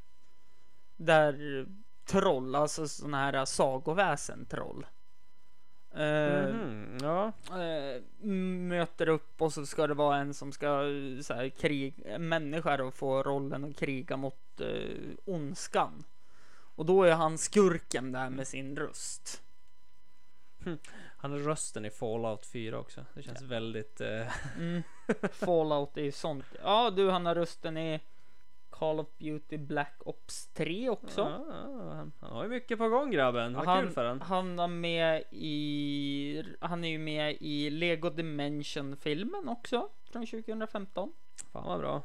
S2: Där troll, alltså sådana här sagoväsen troll. Eh,
S3: Mhm, ja,
S2: eh, möter upp och så ska det vara en som ska eh, så här, krig, en människa då, få rollen att kriga mot eh, ondskan. Och då är han skurken där med sin röst.
S3: han har rösten i Fallout 4 också. Det känns väldigt... Eh, [LAUGHS]
S2: Mm. Fallout är ju sånt. Ja du han har rösten i Call of Duty Black Ops 3 också.
S3: ja, han, han har ju mycket på gång grabben. Vad
S2: han,
S3: kul för han.
S2: han var med i Han är ju med i Lego Dimension filmen också från 2015.
S3: Fan vad bra.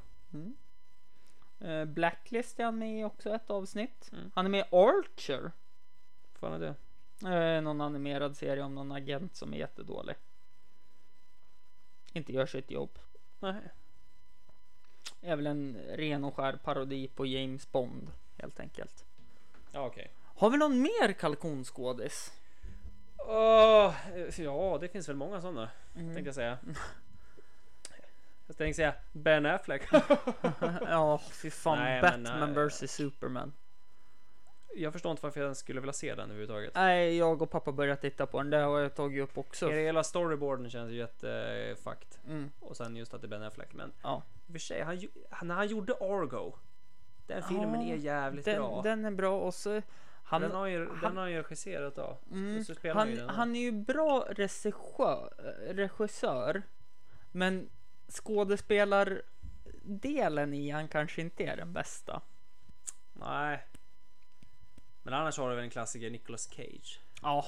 S2: Eh, Blacklist är han med i också ett avsnitt.
S3: Mm.
S2: Han är med i Archer.
S3: Fan är det?
S2: Eh, någon animerad serie om någon agent som är jättedålig. Inte gör sitt jobb.
S3: Nej.
S2: Är väl en ren och skär parodi på James Bond helt enkelt.
S3: Ja, okej.
S2: Har vi någon mer kalkonskådis? [LAUGHS]
S3: Åh, eh, ja, det finns väl många sådana.
S2: Mm.
S3: Tänkte jag säga. Jag tänkte säga Ben Affleck.
S2: [LAUGHS] Ja, fy fan.
S3: Nej, men,
S2: Batman
S3: nej.
S2: vs Superman.
S3: jag förstår inte varför jag ens skulle vilja se den överhuvudtaget.
S2: Nej, jag och pappa började titta på den. Det har jag tagit upp också.
S3: Hela storyboarden känns ju jättefakt.
S2: Mm,
S3: Och sen just att det är Ben Affleck. Men
S2: ja.
S3: i och för sig, han, ju- han, när han gjorde Argo. Den filmen är jävligt bra.
S2: Ah, den, den är bra och så... Han,
S3: den, har ju, den
S2: han,
S3: har ju regisserat av.
S2: mm,
S3: så spelar han ju
S2: han,
S3: den.
S2: han är ju bra regissör, regissör men skådespelardelen i han kanske inte är den bästa.
S3: Nej. Men annars har du väl en klassiker, Nicolas Cage.
S2: Ja.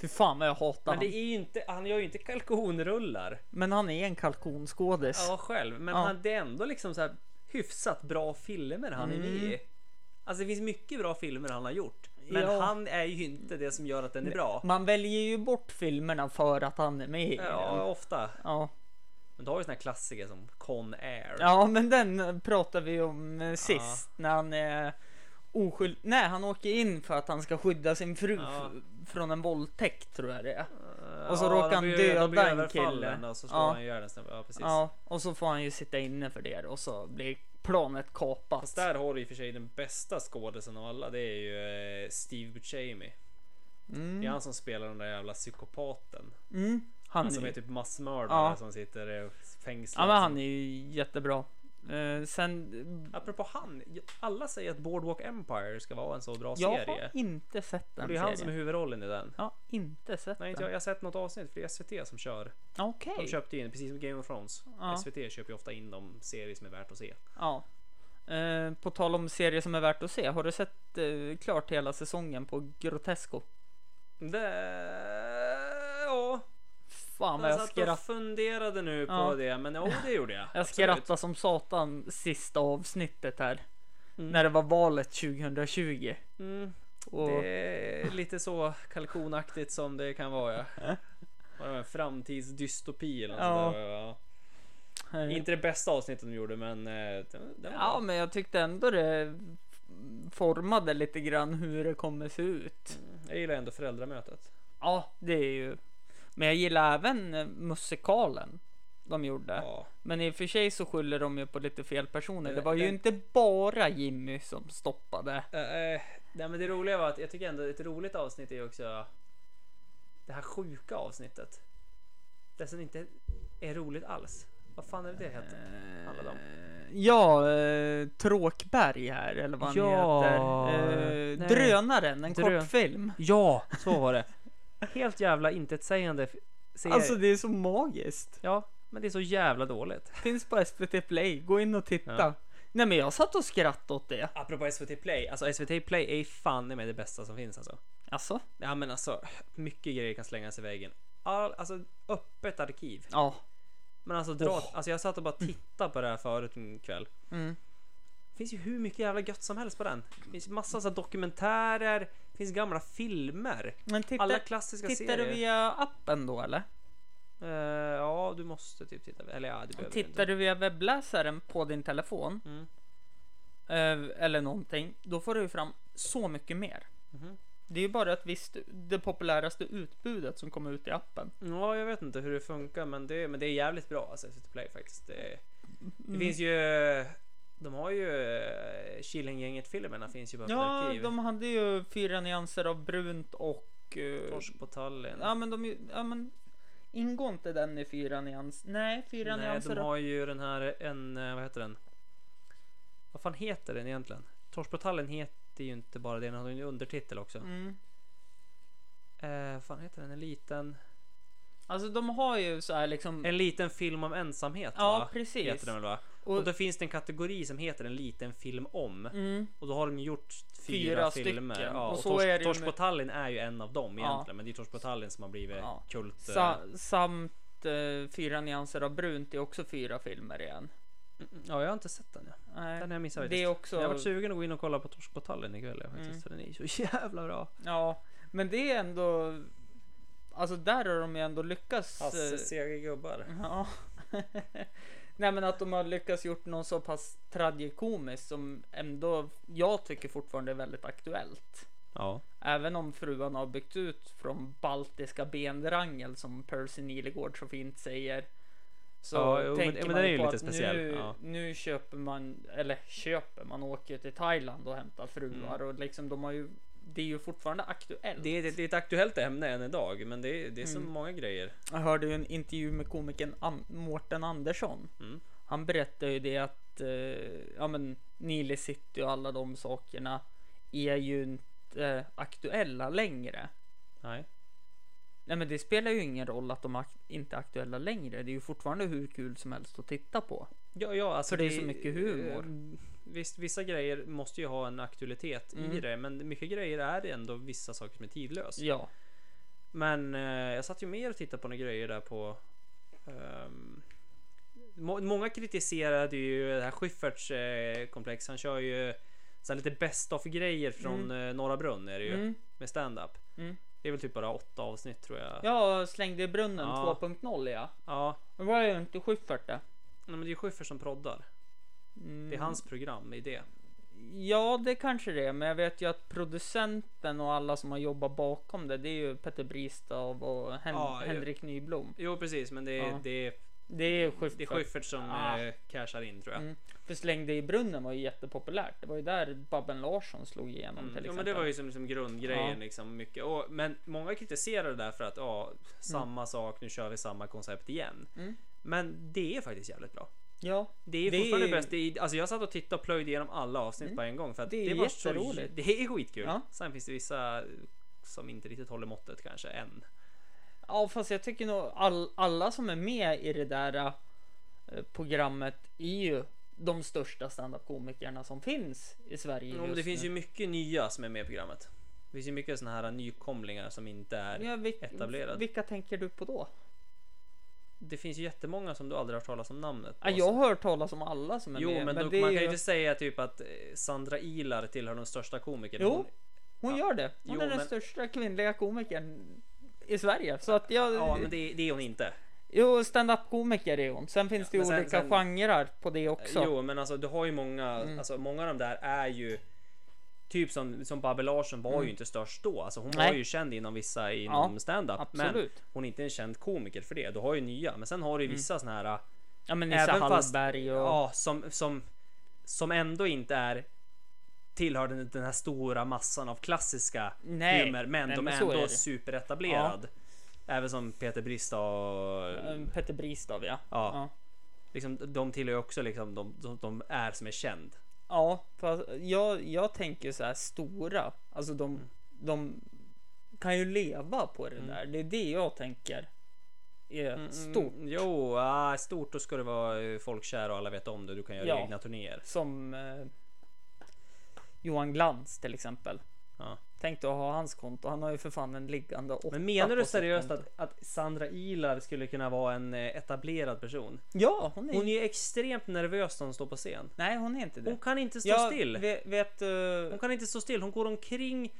S2: Fy fan vad jag hatar
S3: Men det
S2: han.
S3: är ju inte, han gör ju inte kalkonrullar.
S2: Men han är en kalkonskådis.
S3: Ja, själv. Men
S2: Ja.
S3: Han, det är ändå liksom så här hyfsat bra filmer han är med i.
S2: Mm.
S3: Alltså det finns mycket bra filmer han har gjort. Men
S2: Ja. Mm.
S3: han är ju inte det som gör att den är bra.
S2: Man väljer ju bort filmerna för att han är med i
S3: Ja,
S2: den.
S3: ofta.
S2: Ja.
S3: Men du har ju såna här klassiker som Con Air.
S2: ja, men den pratade vi om eh, sist när han är oskyld... Nej, han åker in för att han ska skydda sin fru
S3: Ja.
S2: f- från en våldtäkt tror jag det är.
S3: Eh,
S2: och så
S3: ja,
S2: råkar
S3: de
S2: han
S3: blir ju- de
S2: döda
S3: blir
S2: en
S3: överfallna
S2: kille.
S3: Och så slår
S2: Ja.
S3: han ihjäl en snubbe. Ja, precis.
S2: Ja, och så får han ju sitta inne för det och så blir planet kapat.
S3: Fast där har du i och för sig den bästa skådisen av alla. Det är ju eh, Steve Buscemi. Det är han som spelar den där jävla psykopaten.
S2: Mm. Han,
S3: Han som är
S2: är,
S3: typ massmördare
S2: Ja.
S3: som sitter eh, fängslad.
S2: ja, men han är ju jättebra. Eh, sen,
S3: Apropå han, alla säger att Boardwalk Empire ska vara en så bra
S2: jag
S3: serie.
S2: har inte sett
S3: Och
S2: den
S3: det är han som är
S2: serien.
S3: huvudrollen i den.
S2: Jag har inte sett
S3: Nej, inte jag.
S2: den.
S3: Jag har sett något avsnitt för det är SVT som kör.
S2: Okej.
S3: De köpte in, precis som Game of Thrones.
S2: Ja.
S3: SVT köper ju ofta in de serier som är värt att se.
S2: Ja. Eh, på tal om serier som är värt att se. Har du sett eh, klart hela säsongen på Grotesco?
S3: Det... Ja,
S2: Fan vad
S3: jag
S2: jag
S3: satt och
S2: skrattade.
S3: funderade nu på
S2: Ja.
S3: det, men ja, det gjorde jag.
S2: [LAUGHS] Jag
S3: Absolut.
S2: skrattade som satan sista avsnittet här. När det var valet 2020.
S3: Mm,
S2: Och,
S3: det är lite så kalkonaktigt som det kan vara. Ja. Var det en framtidsdystopi eller något
S2: Ja.
S3: sånt där, ja.
S2: eh,
S3: Inte det bästa avsnittet de gjorde, men... eh, den- den var-
S2: Ja, men jag tyckte ändå det formade lite grann hur det kommer se ut.
S3: Jag gillar ändå föräldramötet.
S2: Ja, det är ju. Men jag gillar även eh, musikalen de gjorde.
S3: Ja.
S2: Men i och för sig så skyller de ju på lite fel personer. Det
S3: Den-
S2: var ju
S3: den-
S2: inte bara Jimmy som stoppade.
S3: Eh, eh, nej, men det roliga var att jag tycker ändå ett roligt avsnitt är ju också det här sjuka avsnittet. Det som inte är roligt alls. Vad fan är det det heter? Handlar det om?
S2: Ja, eh, Tråkberg här eller vad han
S3: Ja,
S2: heter. Eh,
S3: nej.
S2: drönaren, en
S3: Drö-
S2: kortfilm.
S3: Ja, så var det. [LAUGHS] Helt jävla intetsägande f- serie.
S2: Alltså det är så magiskt.
S3: Ja, men det är så jävla dåligt.
S2: Finns på SVT Play, gå in och titta.
S3: Ja.
S2: Nej men jag satt och skrattade åt det.
S3: Apropå SVT Play, alltså SVT Play är fan i mig det bästa som finns alltså.
S2: Alltså?
S3: Ja men alltså, mycket grejer kan slängas i väggen. All, alltså öppet arkiv.
S2: Ja.
S3: Men alltså dra, alltså jag satt och bara tittade på det här förut en kväll.
S2: Mm.
S3: Det finns ju hur mycket jävla gött som helst på den. Det finns massa så här dokumentärer, det finns gamla filmer.
S2: Men titta,
S3: Alla klassiska
S2: tittar du
S3: serier.
S2: via appen då eller?
S3: Eh, ja, du måste typ titta. Eller ja, det behöver du
S2: Tittar
S3: inte.
S2: du via webbläsaren på din telefon
S3: Mm.
S2: eh, eller någonting, då får du ju fram så mycket mer.
S3: Mhm.
S2: Det är ju bara ett visst, det populäraste utbudet som kommer ut i appen.
S3: Ja, jag vet inte hur det funkar, men det, men det är jävligt bra alltså, SVT Play faktiskt. Det, det
S2: Mm.
S3: finns ju... De har ju... eh, Killinggänget-filmerna finns ju på öppet
S2: Ja,
S3: arkiv.
S2: de hade ju fyra nyanser av brunt och... eh,
S3: Torsk på Tallinn.
S2: ja men de, ja men ingår inte den i fyra nyans? Nej, fyra
S3: Nej,
S2: nyanser
S3: de
S2: av...
S3: har ju den här en, eh, vad heter den? Vad fan heter den egentligen? Torsbotalen heter ju inte bara det, den har ju en undertitel också.
S2: Mm.
S3: Eh, vad fan heter den? En liten,
S2: Alltså de har ju så här liksom...
S3: en liten film om ensamhet
S2: Ja,
S3: va?
S2: precis.
S3: Heter den, väl, va? Och,
S2: Och-
S3: då finns det en kategori som heter en liten film om.
S2: Mm.
S3: Och då har de gjort
S2: Fyra
S3: fyra, filmer.
S2: stycken.
S3: Ja,
S2: Och
S3: och
S2: så är det ju
S3: Tors,
S2: med-
S3: Torskbotalen är ju en av dem
S2: Ja.
S3: egentligen. Men det är Torskbotalen som har blivit
S2: Ja.
S3: kult. eh,
S2: Sa, samt eh, Fyra nyanser av brunt är också fyra filmer igen.
S3: Mm, Ja, jag har inte sett den. Ja.
S2: Nej,
S3: Den har jag missat
S2: det
S3: faktiskt.
S2: är också...
S3: Jag har varit sugen att gå in och kolla på Torskbotalen ikväll ja, faktiskt.
S2: Mm.
S3: För den är ju så [LAUGHS] jävla bra.
S2: Ja, men det är ändå... Alltså där har de ju ändå lyckats... eh,
S3: sega gubbar.
S2: ja. [LAUGHS] Nej men att de har lyckats gjort någon så pass tragikomisk som ändå jag tycker fortfarande är väldigt aktuellt.
S3: Ja.
S2: Även om fruan har byggt ut från baltiska benrangel som Percy Nilegård så fint säger. Så
S3: Ja, jo, men-
S2: tänker
S3: men
S2: man
S3: den är
S2: ju
S3: ju
S2: på
S3: lite
S2: att
S3: speciell,
S2: Nu,
S3: ja.
S2: nu köper man, eller köper, man åker till Thailand och hämtar fruar och liksom de har ju, det är ju fortfarande aktuellt.
S3: Mm. Det, är- det, det är ett aktuellt ämne än idag, men det, är- det är så
S2: Mm.
S3: många grejer.
S2: Jag hörde ju en intervju med komikern An- Mårten Andersson.
S3: Mm.
S2: Han berättade ju det att eh, ja, men Nile City och alla de sakerna är ju inte aktuella längre.
S3: Nej.
S2: Nej men det spelar ju ingen roll att de ak- inte är aktuella längre. Det är ju fortfarande hur kul som helst att titta på.
S3: Ja, ja, alltså
S2: För det är så mycket humor.
S3: eh, visst, vissa grejer måste ju ha en aktualitet i
S2: Mm.
S3: det, men mycket grejer är ändå vissa saker som är tidlös.
S2: Ja.
S3: Men eh, jag satt ju mer och tittade på några grejer där på... ehm, må- många kritiserade ju det här Schyfferts eh, komplex. Han kör ju så här lite best of grejer från eh, Norra Brunn är det ju
S2: Mm.
S3: med stand-up.
S2: Mm.
S3: Det är väl typ bara åtta avsnitt tror jag.
S2: Jag slängde i brunnen
S3: Ja.
S2: 2.0 ja.
S3: Ja.
S2: Det var ju inte Schyffert det.
S3: Nej, men det är ju Schyffert som proddar.
S2: Mm.
S3: Det är hans program i det.
S2: Ja, det kanske det är, men jag vet ju att producenten och alla som har jobbat bakom det, det är ju Petter Bristav och Hen-
S3: Ja, ja.
S2: Henrik Nyblom.
S3: Jo precis, men det är,
S2: Ja.
S3: det är,
S2: Det är
S3: det är
S2: Schyffert.
S3: Schyffert som
S2: Ah.
S3: eh, cashar in tror jag.
S2: Mm. För Släng dig i brunnen var ju jättepopulärt. Det var ju där Babben Larsson slog igenom till
S3: Mm. Jo, men
S2: exempel.
S3: det var ju som, liksom grundgrejen
S2: Ja.
S3: liksom mycket. Och, men många kritiserar det där för att ja, samma sak, nu kör vi samma koncept igen.
S2: Mm.
S3: Men det är faktiskt jävligt bra.
S2: Ja,
S3: Det är
S2: Det
S3: fortfarande
S2: är- Mm.
S3: bäst. Det är, alltså jag satt och tittade och plöjde igenom alla avsnitt på en gång för att
S2: Det
S3: det,
S2: är
S3: var så
S2: jätteroligt.
S3: Det är skitkul.
S2: Ja.
S3: Sen finns det vissa som inte riktigt håller måttet kanske än.
S2: Ja fast jag tycker nog all, alla som är med i det där eh, programmet är ju de största standup-komikerna som finns i Sverige
S3: Jo, men
S2: just
S3: det finns
S2: nu.
S3: ju mycket nya som är med i programmet. Det finns ju mycket såna här nykomlingar som inte är
S2: ja, vilk,
S3: etablerad.
S2: Vilka tänker du på då?
S3: Det finns ju jättemånga som du aldrig har hört talas om namnet på.
S2: Ja, jag har hört talas om alla som är
S3: Jo,
S2: med.
S3: men,
S2: men
S3: då,
S2: det
S3: man
S2: är
S3: kan ju
S2: ju,
S3: inte säga typ att eh, Sandra Ilar tillhör de största komikerna.
S2: Jo.
S3: Hon-
S2: Hon gör det. Hon
S3: Jo,
S2: är den
S3: men-
S2: största kvinnliga komikern i Sverige. Så att jag...
S3: Ja, men det, det är hon inte.
S2: Jo, stand-up-komiker är hon. Sen finns det ju
S3: men sen-
S2: olika
S3: sen-
S2: genrer på det också. Mm.
S3: Jo, men alltså du har ju många, alltså många av de där är ju Typ som, som Babbel Larsson var ju inte störst då. Alltså hon var
S2: Mm. Nej.
S3: ju känd inom vissa inom stand-up. Men
S2: absolut. Mm.
S3: hon är inte en känd komiker för det. Du har ju nya. Men sen har du ju vissa såna här
S2: Ja, men Nisse
S3: Även fast-
S2: Hallberg och...
S3: Ja, som, som, som ändå inte är tillhör den, den här stora massan av klassiska
S2: Nej,
S3: humor, men
S2: nej,
S3: de
S2: men
S3: är
S2: så är
S3: ändå
S2: det.
S3: superetablerad. Även som Peter Brista och...
S2: Eh, Petter Bristav, ja.
S3: Ja.
S2: ja.
S3: Liksom, de tillhör ju också liksom de, de, de är som är känd.
S2: Ja, fast jag, jag tänker så här stora. Alltså de,
S3: Mm.
S2: de kan ju leva på det där. Det är det jag tänker är stort.
S3: Mm, jo, ah, stort då ska det vara eh, folkkär och alla vet om det. Du kan göra
S2: Ja.
S3: egna turnéer.
S2: Som eh, Johan Glans till exempel.
S3: Ja.
S2: Tänk dig att ha hans konto. Han har ju för fan en liggande åtta
S3: Men menar
S2: på
S3: du
S2: sitt
S3: seriöst
S2: konto.
S3: att, att Sandra Ilar skulle kunna vara en eh, etablerad person?
S2: Ja, hon är,
S3: Hon är ju extremt nervös när hon står på scen.
S2: Nej, hon är inte det.
S3: Hon kan inte stå
S2: jag
S3: still.
S2: Vet, vet, eh,
S3: Hon kan inte stå still. Hon går omkring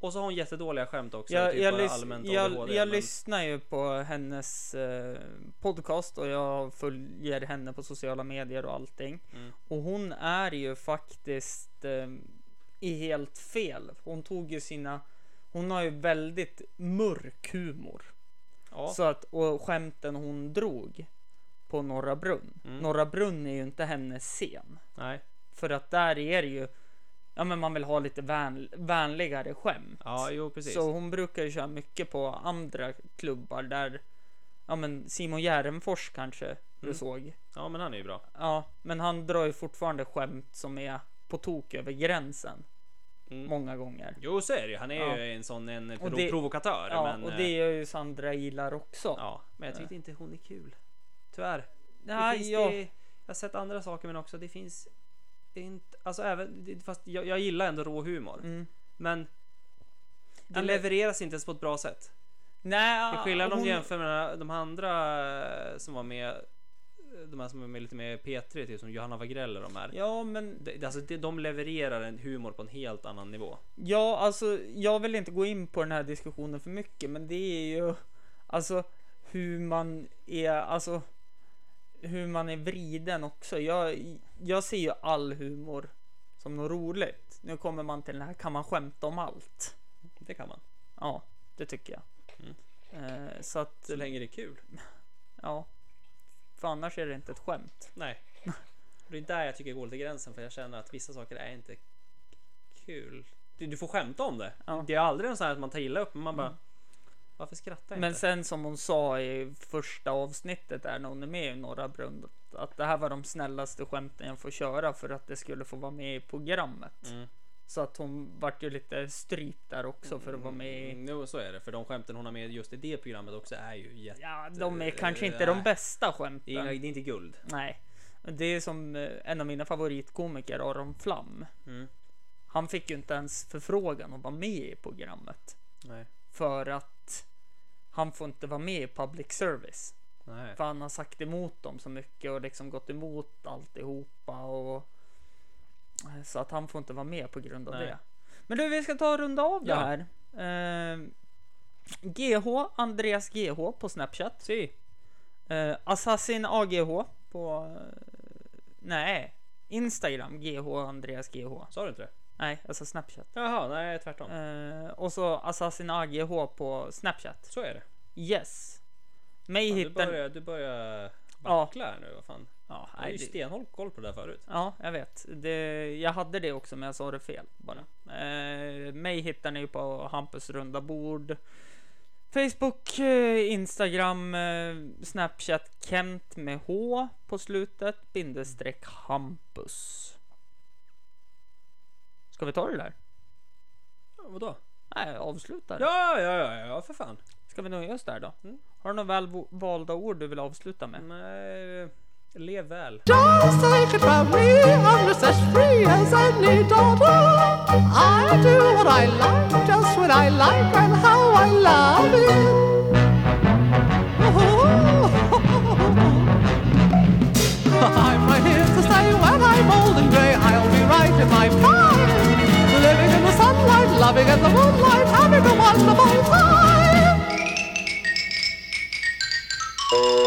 S3: och så har hon jättedåliga skämt också.
S2: jag,
S3: typ
S2: jag,
S3: bara
S2: lys-
S3: allmänt
S2: jag,
S3: ADHD,
S2: jag
S3: men-
S2: lyssnar ju på hennes eh, podcast och jag följer henne på sociala medier och allting.
S3: Mm.
S2: Och hon är ju faktiskt eh, i helt fel. Hon tog ju sina, hon har ju väldigt mörk humor.
S3: Ja.
S2: Så att, och skämten hon drog på Norra Brunn.
S3: Mm.
S2: Norra Brunn är ju inte hennes scen.
S3: Nej.
S2: För att där är det ju, ja men man vill ha lite vän, vänligare skämt.
S3: Ja, jo precis.
S2: Så hon brukar ju köra mycket på andra klubbar där, ja men Simon Järnfors kanske du
S3: Mm.
S2: såg.
S3: Ja, men han är ju bra.
S2: Ja, men han drar ju fortfarande skämt som är på tok över gränsen.
S3: Mm.
S2: Många gånger.
S3: Jo, så är det ju. Han är
S2: Ja.
S3: ju en sån en
S2: Och
S3: prov-
S2: det-
S3: provokatör.
S2: Ja,
S3: men,
S2: och
S3: eh,
S2: det gör ju Sandra Ilar också.
S3: ja, men jag tyckte inte hon är kul. Tyvärr. det
S2: Nej,
S3: finns,
S2: jag,
S3: det, jag har sett andra saker, men också det finns det är inte, alltså även, det- fast jag, jag gillar ändå rå humor.
S2: Mm.
S3: Men det
S2: men-
S3: levereras inte ens på ett bra sätt.
S2: nej,
S3: Till skillnad om
S2: hon-
S3: du jämför med de andra eh, som var med, de här som var med lite mer P3, typ som Johanna Wagrell och de här.
S2: Ja, men
S3: Det, det- alltså, det, de levererar en humor på en helt annan nivå.
S2: Ja, alltså jag vill inte gå in på den här diskussionen för mycket, men det är ju alltså hur man är, alltså hur man är vriden också. Jag, jag ser ju all humor som något roligt. Nu kommer man till den här, kan man skämta om allt?
S3: Det kan man.
S2: Ja, det tycker jag. Eh, så att,
S3: Mm. Så länge det är kul.
S2: ja. För annars är det inte ett skämt.
S3: [LAUGHS] Nej. Det är där jag tycker jag går lite gränsen för jag känner att vissa saker är inte kul. Du, du får skämta om det.
S2: Ja.
S3: Det är aldrig en sån här att man tar illa upp men man bara Varför skrattar jag
S2: Men
S3: inte?
S2: sen som hon sa i första avsnittet där när hon är med i Norra Brunn att det här var de snällaste skämten jag får köra för att det skulle få vara med i programmet.
S3: Mm.
S2: Så att hon vart ju lite strypt där också för att vara med i
S3: Mm, Jo så är det för de skämten hon har med just i det programmet också är ju jätte...
S2: Ja, de är kanske
S3: eh,
S2: inte de
S3: nej.
S2: bästa
S3: Det är, inga,
S2: skämten.
S3: det är inte guld.
S2: Nej. Det är som eh, en av mina favoritkomiker, Aron Flam.
S3: Mm.
S2: Han fick ju inte ens förfrågan att vara med i programmet.
S3: Nej.
S2: För att han får inte vara med i public service.
S3: Nej.
S2: För han har sagt emot dem så mycket och liksom gått emot alltihopa och eh, så att han får inte vara med på grund av
S3: Nej.
S2: det. Men du, vi ska ta och runda av
S3: Ja.
S2: det här. Eh, GH, Andreas GH på Snapchat.
S3: Si.
S2: Eh, Assassin AGH på... eh, nej, Instagram GH, Andreas GH.
S3: Sa du inte det?
S2: Nej, alltså Snapchat.
S3: Jaha, nej tvärtom.
S2: Eh, och så Assassin AGH på Snapchat.
S3: Så är det.
S2: Yes. Mig
S3: Fan, du,
S2: hittar...
S3: börjar, du börjar
S2: Ja.
S3: vackla här nu, vad fan.
S2: Ja,
S3: Du har
S2: nej,
S3: ju
S2: det-
S3: stenhåll koll på det där förut.
S2: Ja, jag vet. Det, jag hade det också, men jag sa det fel bara. Eh, mig hittar ni ju på Hampus runda bord. Facebook, eh, Instagram, eh, Snapchat, Kent med H på slutet, bindestreck Hampus. Ska vi ta det där?
S3: Ja, vadå?
S2: Nej, avsluta det.
S3: Ja, ja, ja, ja, för fan.
S2: Ska vi nöja oss där då?
S3: Mm.
S2: Har du några välvalda ord du vill avsluta med?
S3: Nej, eh, lev väl.
S1: Just take it from me, I'm just as free as any daughter. I do what I like, just when I like, and how I love it. [LAUGHS] I'm right here to stay when I'm old and grey. I'll be right in my prime, living in the sunlight, loving in the moonlight, having a wonderful time.